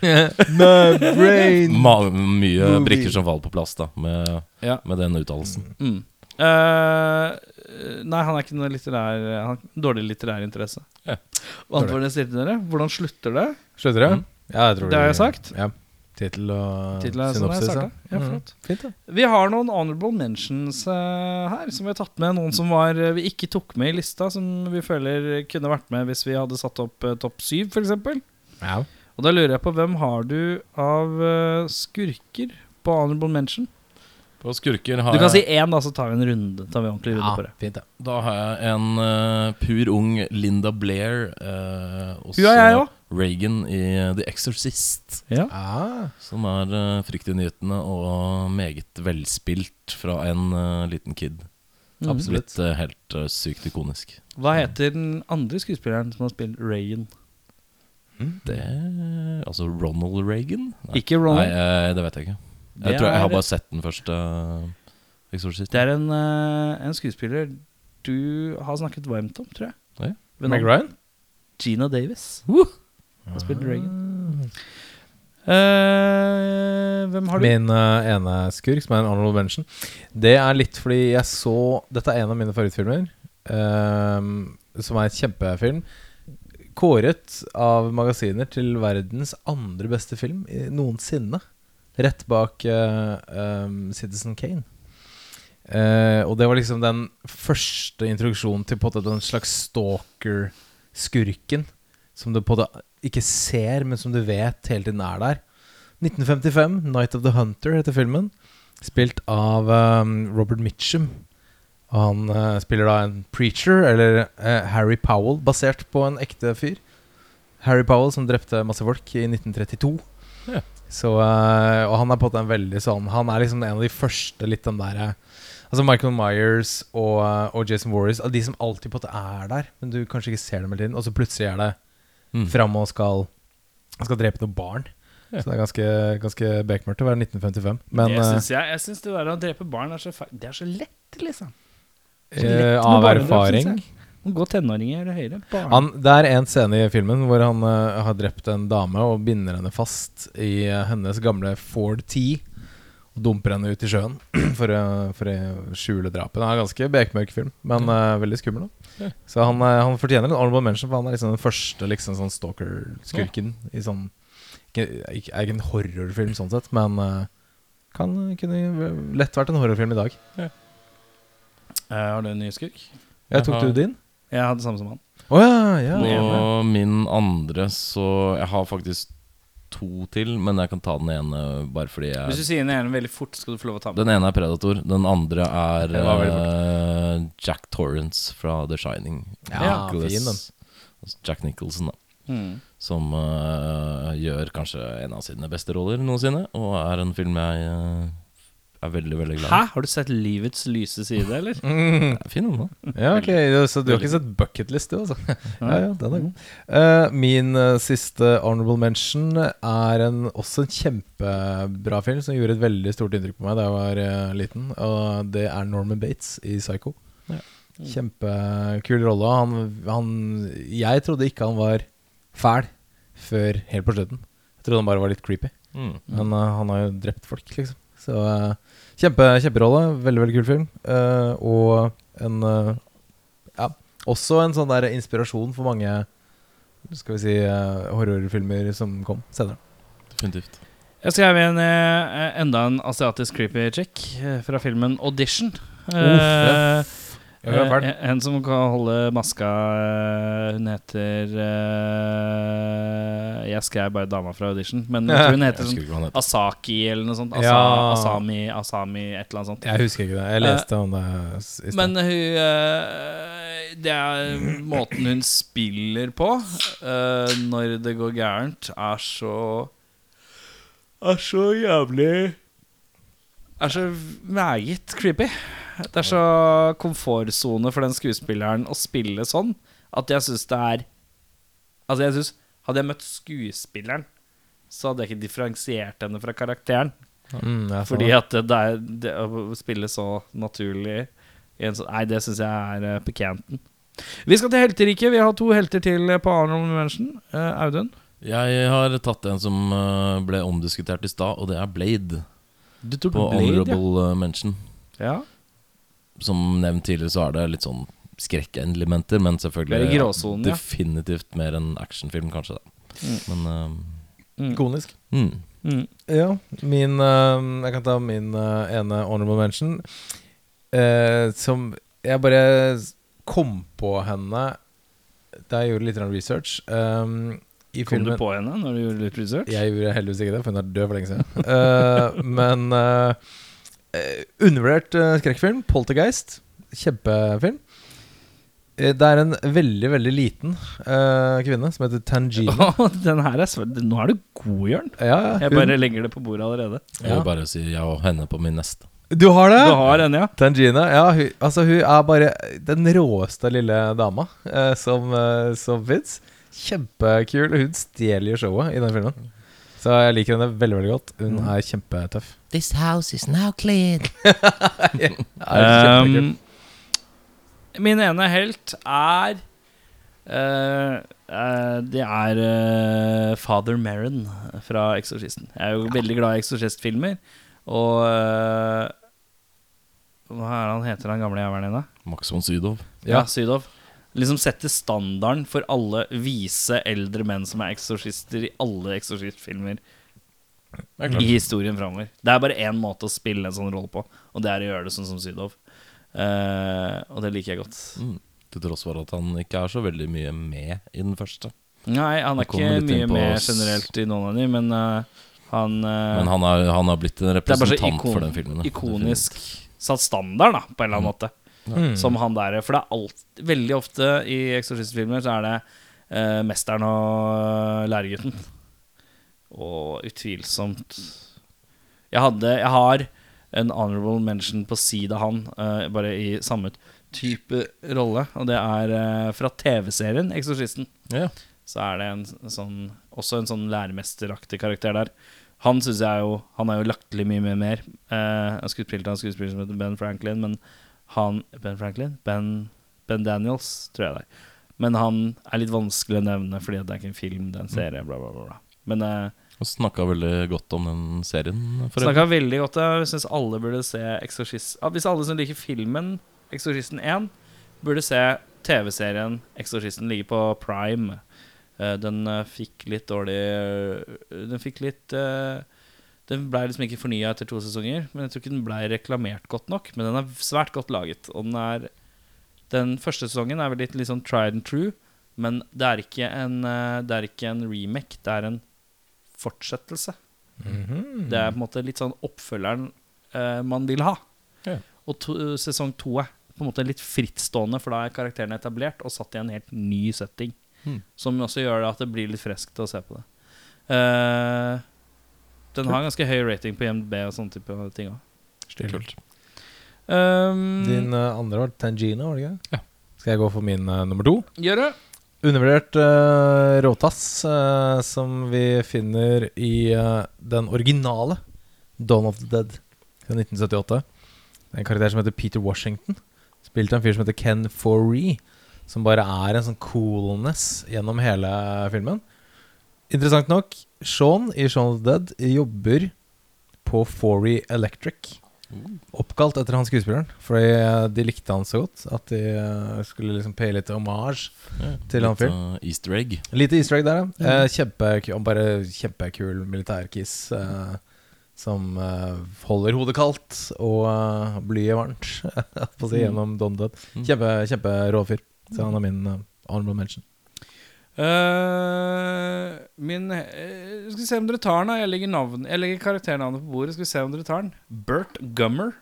[SPEAKER 3] my brain.
[SPEAKER 4] Ma mye
[SPEAKER 3] Movie.
[SPEAKER 4] brikker som faller på plass, da, med,
[SPEAKER 1] Ja.
[SPEAKER 4] med den uttalelsen.
[SPEAKER 1] Mm. Eh, nei, han er ikke noe litterær Han har dårlig litterær interesse.
[SPEAKER 4] Ja.
[SPEAKER 1] Hva annet var det jeg stilte dere? Hvordan slutter det?
[SPEAKER 3] Slutter du?
[SPEAKER 4] Mm.
[SPEAKER 3] Ja, jeg tror
[SPEAKER 1] Det har jeg sagt.
[SPEAKER 3] Ja. Tittel og
[SPEAKER 1] Tittel er sånn jeg
[SPEAKER 3] synopsis. Mm.
[SPEAKER 1] startet. Ja, flott.
[SPEAKER 3] Fint, da.
[SPEAKER 1] Vi har noen honorable mentions eh, her, som vi har tatt med. Noen som var, eh, vi ikke tok med i lista, som vi føler kunne vært med hvis vi hadde satt opp eh, topp syv, f.eks.
[SPEAKER 3] Ja.
[SPEAKER 1] Og da lurer jeg på hvem har du av eh, skurker på honorable mention?
[SPEAKER 4] På skurker har
[SPEAKER 1] Du kan si
[SPEAKER 4] jeg,
[SPEAKER 1] én, da, så tar vi en runde. Tar vi en ordentlig runde
[SPEAKER 3] Ja,
[SPEAKER 1] på det.
[SPEAKER 3] fint, da.
[SPEAKER 4] da har jeg en eh, pur ung Linda Blair. eh, og
[SPEAKER 1] Hun er jeg
[SPEAKER 4] så
[SPEAKER 1] òg.
[SPEAKER 4] Reagan i eh, The Exorcist.
[SPEAKER 3] Ah,
[SPEAKER 4] Som er uh, fryktinngytende og meget velspilt fra en eh, liten kid.
[SPEAKER 1] Mm. Mm-hmm.
[SPEAKER 4] Absolutt eh, helt eh, sykt ikonisk.
[SPEAKER 1] Hva heter den andre skuespilleren som har spilt Reagan? Mm.
[SPEAKER 4] Det Altså Ronald Reagan? Nei,
[SPEAKER 1] Ikke
[SPEAKER 4] Nei
[SPEAKER 1] Ronald.
[SPEAKER 4] eh, det vet jeg ikke. Jeg
[SPEAKER 1] Det
[SPEAKER 4] tror jeg
[SPEAKER 1] er-
[SPEAKER 4] har bare sett den første uh, Exorcist.
[SPEAKER 1] Det er en, eh, en skuespiller du har snakket varmt om, tror jeg.
[SPEAKER 4] Oi.
[SPEAKER 1] Ved
[SPEAKER 3] Meg
[SPEAKER 1] navn
[SPEAKER 3] Ryan?
[SPEAKER 1] Gina Davis. Har spilt Reagan. hvem har du?
[SPEAKER 3] Min eh, ene skurk, som er en honorable mention, det er litt fordi jeg så Dette er en av mine favorittfilmer. ehm, som er et kjempefilm. Kåret av magasiner til verdens andre beste film i- noensinne. Rett bak eh, um, Citizen Kane. Eh, og det var liksom den første introduksjonen til på en måte den slags stalker-skurken. Som du på en måte ikke ser, men som du vet hele tiden er der. 1955, 'Night of the Hunter' heter filmen. Spilt av eh, Robert Mitchum. Og han eh, spiller da en preacher, eller eh, Harry Powell, basert på en ekte fyr. Harry Powell som drepte masse folk i 1932.
[SPEAKER 4] Ja.
[SPEAKER 3] Så, eh, og han er på en måte en veldig sånn Han er liksom en av de første litt den derre Altså Michael Myers og, eh, og Jason Warris, av de som alltid på en måte er der, men du kanskje ikke ser dem hele tiden, og så plutselig er det
[SPEAKER 4] Mm.
[SPEAKER 3] fram og skal, han skal drepe noen barn.
[SPEAKER 4] Ja.
[SPEAKER 3] Så det er ganske, ganske bekmørkt å være 1955. Men
[SPEAKER 1] det
[SPEAKER 3] eh,
[SPEAKER 1] syns jeg. Jeg syns det der å drepe barn er så, fe- det er så lett, liksom. Så lett
[SPEAKER 3] eh,
[SPEAKER 1] med
[SPEAKER 3] av
[SPEAKER 1] barnedrap,
[SPEAKER 3] erfaring
[SPEAKER 1] synes jeg. Må gå tenåringer eller høyere. Barn.
[SPEAKER 3] han, Det er en scene i filmen hvor han eh, har drept en dame og binder henne fast i eh, hennes gamle Ford T. Og dumper henne ut i sjøen for, å- for å skjule drapet. Det er en ganske bekmørk film, men eh, veldig skummel.
[SPEAKER 4] Ja.
[SPEAKER 3] Da. Så han, eh, han fortjener en honorable mention, for han er liksom den første liksom, sånn stalker-skurken i sånn ikke, ikke, er ikke en horrorfilm sånn sett, men eh, kan kunne lett vært en horrorfilm i dag.
[SPEAKER 1] Eh, har du en ny skurk?
[SPEAKER 3] Ja, tok
[SPEAKER 4] Jaha.
[SPEAKER 3] du din?
[SPEAKER 1] Jeg hadde samme som han.
[SPEAKER 3] Å ja, ja.
[SPEAKER 4] Og min andre, så Jeg har faktisk to til, men jeg kan ta den ene bare fordi
[SPEAKER 1] Hvis
[SPEAKER 4] jeg
[SPEAKER 1] du sier den ene veldig fort, skal du få lov å ta med.
[SPEAKER 4] Den ene er Predator, den andre er
[SPEAKER 3] Det var veldig
[SPEAKER 4] eh, Jack Torrance fra The Shining.
[SPEAKER 3] Ja, fin den.
[SPEAKER 4] altså Jack Nicholson, da.
[SPEAKER 1] Mm.
[SPEAKER 4] Som eh, gjør kanskje en av sine beste roller noensinne, og er en film jeg eh, er veldig, veldig glad i.
[SPEAKER 1] Hæ? Har du sett livets lyse side, eller?
[SPEAKER 3] Mm.
[SPEAKER 4] Det er Fin den, da.
[SPEAKER 3] Ja, ok, ja, Så du har
[SPEAKER 4] Veldig.
[SPEAKER 3] ikke sett bucketlist, du, altså? Ja, ja, den er god. Eh, min eh, siste honorable mention er en, også en kjempebra film som gjorde et veldig stort inntrykk på meg da jeg var eh, liten. Og det er Norman Bates i Psycho.
[SPEAKER 4] Ja.
[SPEAKER 3] Kjempekul rolle. Han, han Jeg trodde ikke han var fæl før helt på slutten. Jeg trodde han bare var litt creepy.
[SPEAKER 4] Mm.
[SPEAKER 1] Hmm.
[SPEAKER 3] Men eh, han har jo drept folk, liksom. Så eh, kjempe, kjemperolle. Veldig, veldig kul film. Eh, og en eh, Ja, også en sånn der inspirasjon for mange skal vi si eh, horrorfilmer som kom senere.
[SPEAKER 4] Definitivt.
[SPEAKER 1] Jeg skrev en, eh, enda en asiatisk creepy chick eh, fra filmen Audition.
[SPEAKER 4] ja.
[SPEAKER 1] Eh, eh, en som kan holde maska eh, Hun heter eh, Jeg skrev bare dama fra Audition, men jeg tror hun
[SPEAKER 4] Jeg
[SPEAKER 1] heter
[SPEAKER 4] husker
[SPEAKER 1] sånn
[SPEAKER 4] ikke hva den heter.
[SPEAKER 1] Asaki eller noe sånt. Asa,
[SPEAKER 3] Ja.
[SPEAKER 1] Asami, Asami, et eller annet sånt.
[SPEAKER 3] Jeg husker ikke det. Jeg leste om det s- i
[SPEAKER 1] Eh, Men
[SPEAKER 3] stad.
[SPEAKER 1] hun eh, Det er måten hun spiller på eh, når det går gærent, er så Er så jævlig Er så meget creepy. Det er så komfortsone for den skuespilleren å spille sånn at jeg syns det er Altså, jeg synes Hadde jeg møtt skuespilleren, så hadde jeg ikke differensiert henne fra karakteren.
[SPEAKER 3] Mm, jeg sa
[SPEAKER 1] Fordi
[SPEAKER 3] det.
[SPEAKER 1] at det, det, er, det å spille så naturlig i en sånn Nei, det syns jeg er uh, på canten. Vi skal til helteriket. Vi har to helter til eh, på Arnold Mention. Audun?
[SPEAKER 4] Jeg har tatt en som eh, ble omdiskutert i stad, og det er Blade.
[SPEAKER 1] Du tok
[SPEAKER 4] På Honorable eh, Mention.
[SPEAKER 1] ja.
[SPEAKER 4] Som nevnt tidligere, så er det litt sånn skrekkelementer, men
[SPEAKER 1] Mer i
[SPEAKER 4] selvfølgelig
[SPEAKER 1] gråsonen, ja. Mm.
[SPEAKER 4] definitivt mer en actionfilm, kanskje. Da. Men
[SPEAKER 3] Ikonisk.
[SPEAKER 4] eh, mm.
[SPEAKER 1] ja. Mm.
[SPEAKER 3] Ja, min eh, Jeg kan ta min eh, ene honorable mention. eh, som jeg bare kom på henne da jeg gjorde litt grann research. eh, I
[SPEAKER 1] Kom du
[SPEAKER 3] filmen
[SPEAKER 1] på henne når du gjorde litt research?
[SPEAKER 3] Jeg gjorde heldigvis ikke det, for hun er død for lenge siden. Eh, men eh, eh, undervurdert eh, skrekkfilm. 'Poltergeist'. Kjempefilm. Eh, Det er en veldig, veldig liten eh, kvinne som heter Tangina.
[SPEAKER 1] Å, den her er svært Nå er du god, Jørn.
[SPEAKER 3] Ja,
[SPEAKER 1] Jeg
[SPEAKER 3] hun-
[SPEAKER 1] bare legger det på bordet allerede.
[SPEAKER 4] Jeg vil
[SPEAKER 3] Ja.
[SPEAKER 4] bare si ja og henne på min neste.
[SPEAKER 3] Du har det?
[SPEAKER 1] Du har henne, ja.
[SPEAKER 3] Tangina, ja. Hun, altså, hun er bare den råeste lille dama eh, som, eh, som fins. Kjempekul. Hun stjeler jo showet i den filmen. Så jeg liker henne veldig veldig godt. Hun er kjempetøff.
[SPEAKER 5] Mm. This house is now cleared.
[SPEAKER 3] Er kjempekul.
[SPEAKER 1] Um, Ehm, min ene helt er eh, eh, Det er eh, Father Merrin fra Exorcisten. Jeg er jo veldig glad i Exorcist-filmer. Og eh, Hva er han heter han gamle jævelen igjen, da?
[SPEAKER 4] Max von Sydow.
[SPEAKER 1] Ja,
[SPEAKER 3] Ja.
[SPEAKER 1] Sydow. liksom setter standarden for alle vise eldre menn som er eksorsister i alle eksorsistfilmer i historien framover. Det er bare én måte å spille en sånn rolle på, og det er å gjøre det sånn som Sydow. Eh, og det liker jeg godt.
[SPEAKER 4] Mm. Til tross for at han ikke er så veldig mye med i den første.
[SPEAKER 1] Nei, han er
[SPEAKER 4] Det kommer
[SPEAKER 1] ikke
[SPEAKER 4] litt
[SPEAKER 1] mye
[SPEAKER 4] inn på
[SPEAKER 1] med
[SPEAKER 4] oss.
[SPEAKER 1] generelt i noen av de, men eh, han, eh,
[SPEAKER 4] Men han har, han har blitt
[SPEAKER 1] Det
[SPEAKER 4] en
[SPEAKER 1] er bare
[SPEAKER 4] representant
[SPEAKER 1] så ikon,
[SPEAKER 4] for den filmen. da. Mm.
[SPEAKER 1] ikonisk satt standard, da, på en eller annen måte. Som han der For det er alt, veldig ofte i eksorsistfilmer så er det eh, mesteren og eh, læregutten. Og utvilsomt Jeg hadde Jeg har en honorable mention på sida han, eh, bare i samme type rolle, og det er eh, fra TV-serien Eksorsisten
[SPEAKER 4] Ja.
[SPEAKER 1] så er det en s- sånn, også en sånn læremesteraktig karakter der. Han synes jeg jo Han er jo lagt til mye, mye mer. Eh, jeg skulle spilt av en skuespiller som heter Ben Franklin, men han Ben Franklin? Ben, ben Daniels, tror jeg det er. Men han er litt vanskelig å nevne fordi at det er ikke en film, det er en serie, bla, bla, bla. bla. Men eh,
[SPEAKER 4] Og snakka veldig godt om den serien. For
[SPEAKER 1] snakka veldig godt. Jeg syns alle burde se Exorcist ah, Hvis alle som liker filmen Exorcisten 1, burde se TV-serien Exorcisten ligger på Prime. Eh, Den eh, fikk litt dårlig eh, Den fikk litt eh, Den blei liksom ikke fornya etter to sesonger, men jeg tror ikke den blei reklamert godt nok. Men den er svært godt laget, og den er Den første sesongen er vel litt, litt sånn tried and true, men det er ikke en, eh, det er ikke en remake, det er en fortsettelse.
[SPEAKER 3] Mhm.
[SPEAKER 1] Det
[SPEAKER 3] Mm.
[SPEAKER 1] er på en måte litt sånn oppfølgeren eh, man vil ha.
[SPEAKER 4] Ja.
[SPEAKER 1] Og to, eh, sesong to er på en måte litt frittstående, for da er karakterene etablert og satt i en helt ny setting.
[SPEAKER 4] Hmm.
[SPEAKER 1] Som også gjør det at det blir litt friskt å se på det. Eh, den har ganske høy rating på IMDb og sånne type ting Ehm, òg.
[SPEAKER 4] Kult.
[SPEAKER 3] Din eh, andre var Tangina, var det ikke?
[SPEAKER 4] Ja.
[SPEAKER 3] Skal jeg gå for min eh, nummer to?
[SPEAKER 1] Gjør det!
[SPEAKER 3] Undervurdert eh, råtass eh, som vi finner i eh, den originale Dawn of the Dead fra 1978. Det er En karakter som heter Peter Washington. Spilt av en fyr som heter Ken Foree. Som bare er en sånn coolness gjennom hele filmen. Interessant nok, Sean i Shaun of the Dead jobber på Foree Electric. Oppkalt etter han skuespilleren, fordi eh, de likte han så godt at de eh, skulle liksom paye litt homage
[SPEAKER 4] Ja,
[SPEAKER 3] Til han
[SPEAKER 4] litt, eh, Easter egg.
[SPEAKER 3] Lite easter egg der, ja. Eh, kjempeku- og bare kjempekul militærkiss eh, som eh, holder hodet kaldt og eh, blyet varmt på å si, gjennom Don Dead.
[SPEAKER 4] Mm.
[SPEAKER 3] Kjempe, kjemperå fyr. Så han er min eh, honorable mention.
[SPEAKER 1] Eh, min eh, Skal vi se om dere tar den. da. Jeg legger, navn, jeg legger karakternavnet på bordet. Skal vi se om dere tar den. Bert Gummer.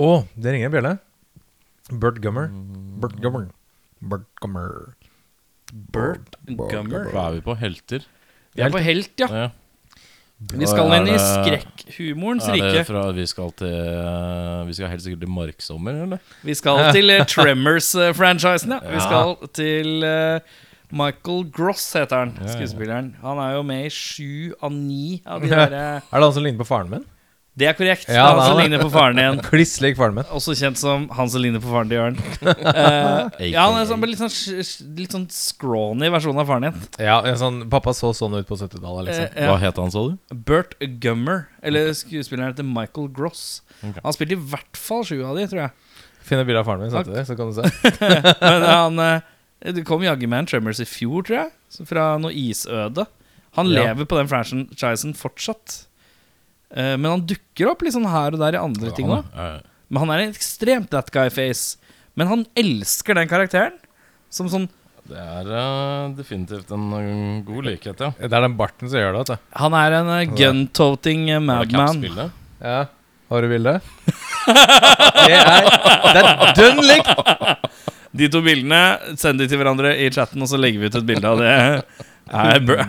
[SPEAKER 3] Å, det ringer en bjelle. Bert Gummer. Bert Gummer. Bert Gummer.
[SPEAKER 1] Bert Gummer.
[SPEAKER 4] Hva er vi på? Helter?
[SPEAKER 1] Vi er på helt, ja.
[SPEAKER 4] Ja.
[SPEAKER 1] Vi skal inn i
[SPEAKER 4] Er det-
[SPEAKER 1] skrekkhumorens
[SPEAKER 4] Er det
[SPEAKER 1] rike.
[SPEAKER 4] fra vi skal til eh, Vi skal helt sikkert til Marksommer, eller?
[SPEAKER 1] Vi skal til eh, Tremors-franchisen, ja. Vi skal til eh, Michael Gross, heter han, skuespilleren. Han er jo med i sju av ni av de der eh,
[SPEAKER 3] Er det han som ligner på faren min?
[SPEAKER 1] Det er korrekt. Det er
[SPEAKER 3] Ja,
[SPEAKER 1] han
[SPEAKER 3] det er
[SPEAKER 1] som
[SPEAKER 3] det.
[SPEAKER 1] ligner på faren din.
[SPEAKER 3] Kliss lik faren min.
[SPEAKER 1] Også kjent som han som ligner på faren til Jørn. Eh, ja, han er sånn, litt, sånn, sj- sj- litt sånn scrawny versjon av faren din.
[SPEAKER 3] Ja, en sånn, Pappa så sånn ut på 70-tallet, liksom.
[SPEAKER 1] Eh, ja.
[SPEAKER 4] Hva het han, sa du?
[SPEAKER 1] Bert Gummer, eller skuespilleren heter Michael Gross.
[SPEAKER 4] Ok.
[SPEAKER 1] Han spilte i hvert fall sju av de, tror jeg.
[SPEAKER 3] Finn et bilde av faren min, sendte det, så kan du se.
[SPEAKER 1] Men han eh, Det kom jaggu meg en Tremors i fjor, tror jeg. Så Fra noe isøde. Han
[SPEAKER 3] Ja.
[SPEAKER 1] lever på den franchisen fortsatt. Eh, Men han dukker opp litt sånn her og der i andre ting òg.
[SPEAKER 4] Ja, ja.
[SPEAKER 1] Men han er en ekstremt that guy face. Men han elsker den karakteren. Som sånn
[SPEAKER 4] Det er eh, definitivt en eh, god likhet, ja.
[SPEAKER 3] Det er den barten som gjør det, vet du.
[SPEAKER 1] Han er en eh, gun-toting eh,
[SPEAKER 4] Er det
[SPEAKER 1] madman.
[SPEAKER 4] Caps-bildet?
[SPEAKER 3] Ja. Har du bilde? Det er, det er dønn likt!
[SPEAKER 1] De to bildene, send de til hverandre i chatten, og så legger vi ut et bilde av det. Er Ber-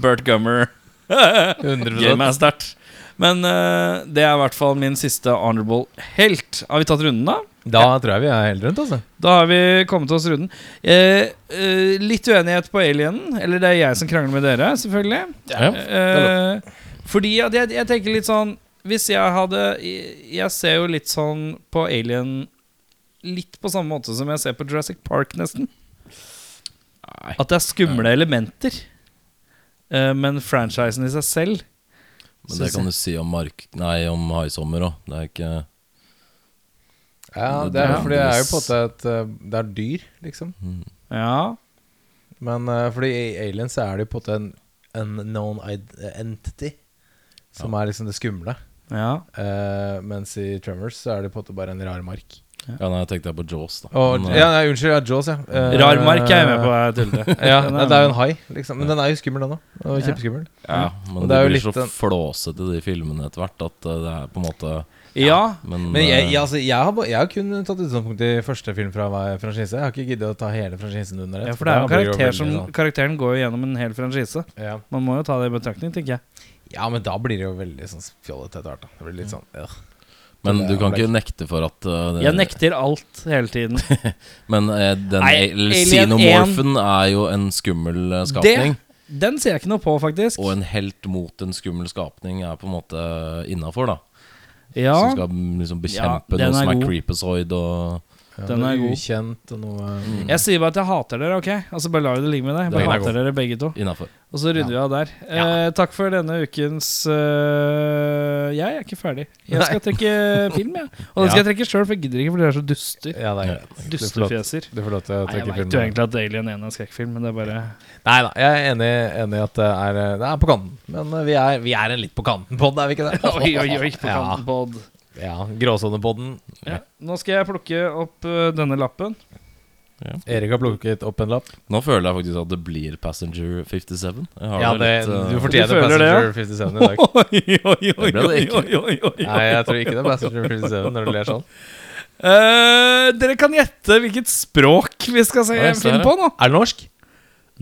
[SPEAKER 1] Bert Gummer. Gamet er sterkt. Men eh, det er i hvert fall min siste honorable helt. Har vi tatt runden, da?
[SPEAKER 3] Da tror jeg vi er helt rundt, altså.
[SPEAKER 1] Da har vi kommet oss runden. Eh, eh, litt uenighet på alienen. Eller det er jeg som krangler med dere, selvfølgelig.
[SPEAKER 4] Ja.
[SPEAKER 1] Eh, fordi at jeg, jeg tenker litt sånn Hvis jeg hadde jeg, jeg ser jo litt sånn på Alien Litt på samme måte som jeg ser på Jurassic Park, nesten. At det er skumle elementer. Eh, men franchisen i seg selv
[SPEAKER 4] Men det kan du si om Mark... Nei, om Haisommer òg. Det er ikke
[SPEAKER 3] Ja, det er
[SPEAKER 1] Ja.
[SPEAKER 3] fordi det er jo på en måte et eh, Det er dyr, liksom.
[SPEAKER 4] hmm.
[SPEAKER 1] Ja.
[SPEAKER 3] Men eh, fordi i Aliens så er det jo på en måte en unknown id- entity, som er liksom det skumle.
[SPEAKER 1] ja.
[SPEAKER 3] Eh, mens i Tremors så er det på en måte bare en rar mark.
[SPEAKER 4] Ja, nei, jeg tenkte på Jaws, da.
[SPEAKER 3] Og,
[SPEAKER 4] Men, eh,
[SPEAKER 3] ja, nei, unnskyld, ja, Jaws, ja. Eh,
[SPEAKER 1] Rar mark er jeg med på, jeg tullete.
[SPEAKER 3] Ja,
[SPEAKER 1] Den
[SPEAKER 3] nei, det er jo en hai, liksom. Men den er jo skummel, den òg. Og
[SPEAKER 1] Ja.
[SPEAKER 3] kjempeskummel.
[SPEAKER 4] Ja, men
[SPEAKER 3] Og
[SPEAKER 4] det
[SPEAKER 3] det er jo
[SPEAKER 4] blir
[SPEAKER 3] litt
[SPEAKER 4] så
[SPEAKER 3] den-
[SPEAKER 4] flåsete, de filmene, etter hvert, at eh, det er på en måte
[SPEAKER 1] Ja.
[SPEAKER 4] Men,
[SPEAKER 3] Men jeg,
[SPEAKER 4] eh,
[SPEAKER 3] jeg, altså, jeg, har, ba- jeg har kun tatt utgangspunkt i første film fra hver franchise. Jeg har ikke giddet å ta hele franchisen under ett.
[SPEAKER 1] ja, for det er jo en
[SPEAKER 3] da blir jo
[SPEAKER 1] karakter
[SPEAKER 3] veldig
[SPEAKER 1] som
[SPEAKER 3] sånn-
[SPEAKER 1] Karakteren går jo gjennom en hel franchise.
[SPEAKER 3] ja.
[SPEAKER 1] Man må jo ta det i betraktning, tenker jeg.
[SPEAKER 3] ja, men da blir det jo veldig sånn fjollete etter hvert. da. Det blir litt sånn øh.
[SPEAKER 4] men
[SPEAKER 3] det
[SPEAKER 4] du
[SPEAKER 3] er
[SPEAKER 4] kan
[SPEAKER 3] vel
[SPEAKER 4] ikke nekte for at eh, det,
[SPEAKER 1] Jeg nekter alt hele tiden.
[SPEAKER 4] Men eh, den
[SPEAKER 1] Nei,
[SPEAKER 4] eller
[SPEAKER 1] Alien
[SPEAKER 4] Xenomorphen er jo en skummel eh, skapning.
[SPEAKER 1] den sier jeg ikke noe på, faktisk.
[SPEAKER 4] Og en helt mot en skummel skapning er på en måte innafor, da.
[SPEAKER 1] Ja,
[SPEAKER 4] Som skal mm, liksom bekjempe
[SPEAKER 1] den
[SPEAKER 4] noe
[SPEAKER 1] er
[SPEAKER 4] som er
[SPEAKER 1] god.
[SPEAKER 4] creepazoid og
[SPEAKER 3] Ja,
[SPEAKER 1] Den
[SPEAKER 3] noe
[SPEAKER 1] er god. Mm.
[SPEAKER 3] Ukjent og noe
[SPEAKER 1] Jeg sier bare at jeg hater dere, ok? Altså Bare lar vi det ligge med det.
[SPEAKER 4] Den
[SPEAKER 1] Bare
[SPEAKER 4] er
[SPEAKER 1] hater
[SPEAKER 4] god.
[SPEAKER 1] dere begge to.
[SPEAKER 4] innafor.
[SPEAKER 1] Og så runder vi av der. Eh, takk for denne ukens eh, Jeg er ikke ferdig. Jeg skal trekke film, jeg. Og den skal
[SPEAKER 3] Ja.
[SPEAKER 1] jeg trekke sjøl, for jeg gidder ikke, for dere er så duster.
[SPEAKER 3] Ja, det er greit. Du får lov-
[SPEAKER 1] Dustefjeser.
[SPEAKER 3] Du får lov til å
[SPEAKER 1] Nei, jeg
[SPEAKER 3] trekke
[SPEAKER 1] vet jo
[SPEAKER 3] filmen.
[SPEAKER 1] egentlig at Alien 1 er en skrekkfilm, men det er bare
[SPEAKER 3] Nei da, jeg er enig, enig i at det er, eh, det er på kanten. Men eh, vi er, vi er en litt på kanten på den, er vi ikke det?
[SPEAKER 1] Oi, oi, oi, på kanten på odd.
[SPEAKER 3] Ja, ja Gråsonepodden.
[SPEAKER 1] Ja. Nå skal jeg plukke opp eh, denne lappen.
[SPEAKER 3] Erik har plukket opp en lapp.
[SPEAKER 4] Nå føler jeg faktisk at det blir Passenger 57. Jeg har
[SPEAKER 3] Ja,
[SPEAKER 4] det
[SPEAKER 3] det,
[SPEAKER 4] litt, eh,
[SPEAKER 3] du fortjener
[SPEAKER 1] Du føler det, ja?
[SPEAKER 3] Passenger 57 i dag.
[SPEAKER 1] Oi, oi, oi,
[SPEAKER 4] Det ble det ikke.
[SPEAKER 1] oi, oi, oi.
[SPEAKER 3] Nei, jeg tror ikke det er Passenger 57 når du ler sånn.
[SPEAKER 1] Eh, dere kan gjette hvilket språk vi skal se
[SPEAKER 4] Oi,
[SPEAKER 1] en film
[SPEAKER 4] ser jeg.
[SPEAKER 1] på nå.
[SPEAKER 3] Er det norsk?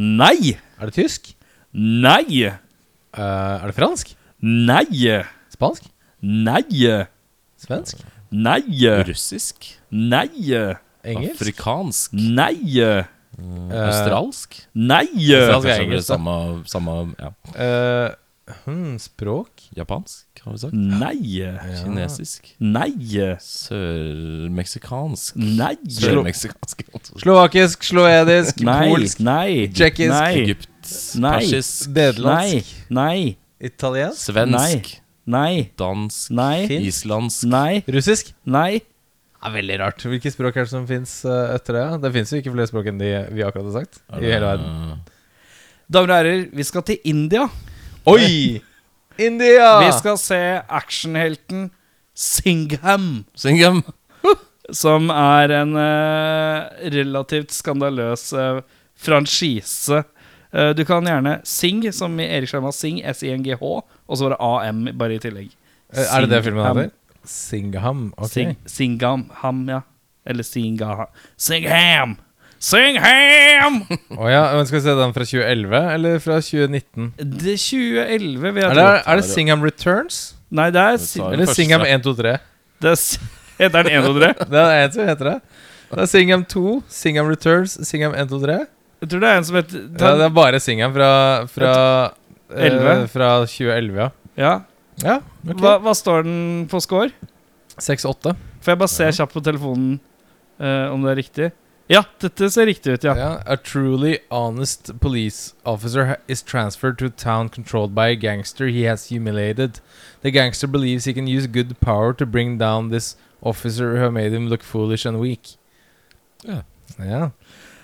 [SPEAKER 1] Nei!
[SPEAKER 3] Er det tysk?
[SPEAKER 1] Nei!
[SPEAKER 3] Eh, er det fransk?
[SPEAKER 1] Nei!
[SPEAKER 3] Spansk?
[SPEAKER 1] Nei!
[SPEAKER 3] Svensk?
[SPEAKER 1] Nei!
[SPEAKER 4] russisk?
[SPEAKER 1] Nei!
[SPEAKER 3] Engelsk?
[SPEAKER 4] Afrikansk?
[SPEAKER 1] Nei!
[SPEAKER 4] eh,
[SPEAKER 3] Eh,
[SPEAKER 4] australsk?
[SPEAKER 1] Nei!
[SPEAKER 3] Australsk.
[SPEAKER 4] Kanskje det blir
[SPEAKER 3] engelsk, da.
[SPEAKER 4] samme, samme ja.
[SPEAKER 3] Eh, hmm, språk?
[SPEAKER 4] Japansk, har vi sagt.
[SPEAKER 1] Nei!
[SPEAKER 4] Kinesisk.
[SPEAKER 1] Nei!
[SPEAKER 4] Sørmeksikansk.
[SPEAKER 1] Nei!
[SPEAKER 4] Sørmeksikansk.
[SPEAKER 3] Slovakisk, sloedisk,
[SPEAKER 1] Nei!
[SPEAKER 3] polsk,
[SPEAKER 1] Nei!
[SPEAKER 3] Tsjekkisk.
[SPEAKER 1] Nei!
[SPEAKER 4] Egypt.
[SPEAKER 1] Nei.
[SPEAKER 4] Persisk.
[SPEAKER 1] Nei!
[SPEAKER 3] nederlandsk,
[SPEAKER 1] Nei!
[SPEAKER 3] italiensk,
[SPEAKER 4] Svensk.
[SPEAKER 1] Nei!
[SPEAKER 4] Dansk.
[SPEAKER 1] Nei!
[SPEAKER 3] Finsk.
[SPEAKER 4] Islandsk.
[SPEAKER 1] Nei!
[SPEAKER 3] russisk.
[SPEAKER 1] Nei!
[SPEAKER 3] Det er veldig rart. Hvilke språk er det som fins etter det? Det fins jo ikke flere språk enn de vi akkurat har sagt. I hele verden.
[SPEAKER 4] Eh,
[SPEAKER 1] Damer og herrer, vi skal til India.
[SPEAKER 3] Oi! India!
[SPEAKER 1] Vi skal se actionhelten Singham.
[SPEAKER 4] Singham.
[SPEAKER 1] Som er en eh, relativt skandaløs eh, franchise. Eh, du kan gjerne Sing, som i Erik Sjarma Sing, S-I-N-G-H, og så var det AM bare i tillegg.
[SPEAKER 3] Eh, Er det det filmen
[SPEAKER 1] Singham.
[SPEAKER 3] heter? Singham. Ok.
[SPEAKER 1] Sing, Singham, ham, ja. Eller Singham. Singham! Singham!
[SPEAKER 3] Å ja, men Skal vi se den fra 2011 eller fra 2019?
[SPEAKER 1] Det 2011, vil jeg
[SPEAKER 3] Er
[SPEAKER 1] tro.
[SPEAKER 3] det, er det Singham Returns?
[SPEAKER 1] Nei, det er,
[SPEAKER 4] tar
[SPEAKER 1] Sing-
[SPEAKER 4] den
[SPEAKER 3] Eller
[SPEAKER 4] første.
[SPEAKER 3] Singham 123?
[SPEAKER 1] det er S- Heter den 103?
[SPEAKER 3] Det er en som heter det. Det er Singham 2, Singham Returns, Singham 123.
[SPEAKER 1] Jeg tror det er en som heter
[SPEAKER 3] Ja, det er bare Singham fra Fra, eh,
[SPEAKER 1] 11?
[SPEAKER 3] fra 2011, ja.
[SPEAKER 1] Ja.
[SPEAKER 3] Ja,
[SPEAKER 1] Hva,
[SPEAKER 3] ok.
[SPEAKER 1] hva står den på score?
[SPEAKER 3] 6-8.
[SPEAKER 1] Får jeg bare se kjapt på telefonen eh, om det er riktig? Ja, dette ser riktig ut, ja.
[SPEAKER 3] Ja. A truly honest police officer ha- is transferred to a town controlled by a gangster he has humiliated. The gangster believes he can use good power to bring down this officer who made him look foolish and weak.
[SPEAKER 4] Ja.
[SPEAKER 3] Ja.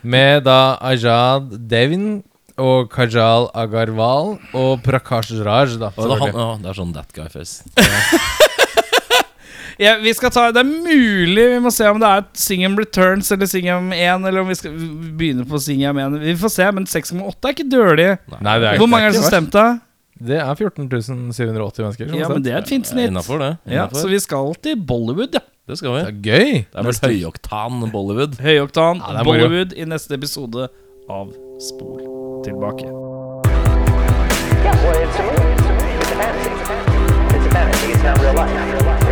[SPEAKER 3] Med da Ajad Devin og Kajal Agarwal og Prakash Raj, da.
[SPEAKER 4] Å, det, er han,
[SPEAKER 3] selvfølgelig.
[SPEAKER 4] å, det er sånn That Guy Face.
[SPEAKER 1] ja vi skal ta, det er mulig vi må se om det er Singham Returns eller Singham 1, eller om vi skal begynne på Singham 1. Vi får se, men 6,8 er ikke dårlig.
[SPEAKER 3] Nei, det er
[SPEAKER 1] Hvor mange er det som
[SPEAKER 3] verst.
[SPEAKER 1] stemte?
[SPEAKER 3] Det er 14.780 mennesker. som
[SPEAKER 1] Ja,
[SPEAKER 3] har
[SPEAKER 1] men
[SPEAKER 3] stemt.
[SPEAKER 1] det er et fint snitt.
[SPEAKER 4] Innafor det.
[SPEAKER 1] Ja,
[SPEAKER 4] innenfor.
[SPEAKER 1] så vi skal til Bollywood, ja.
[SPEAKER 4] det skal vi.
[SPEAKER 3] det er gøy!
[SPEAKER 4] Det er vel høyoktan Bollywood.
[SPEAKER 1] Høyoktan,
[SPEAKER 3] Ja, det er moro.
[SPEAKER 1] Bollywood i neste episode av Spol tilbake.
[SPEAKER 2] Yeah, well, it's a movie. It's a movie. It's a fantasy. It's a fantasy. It's not real life. It's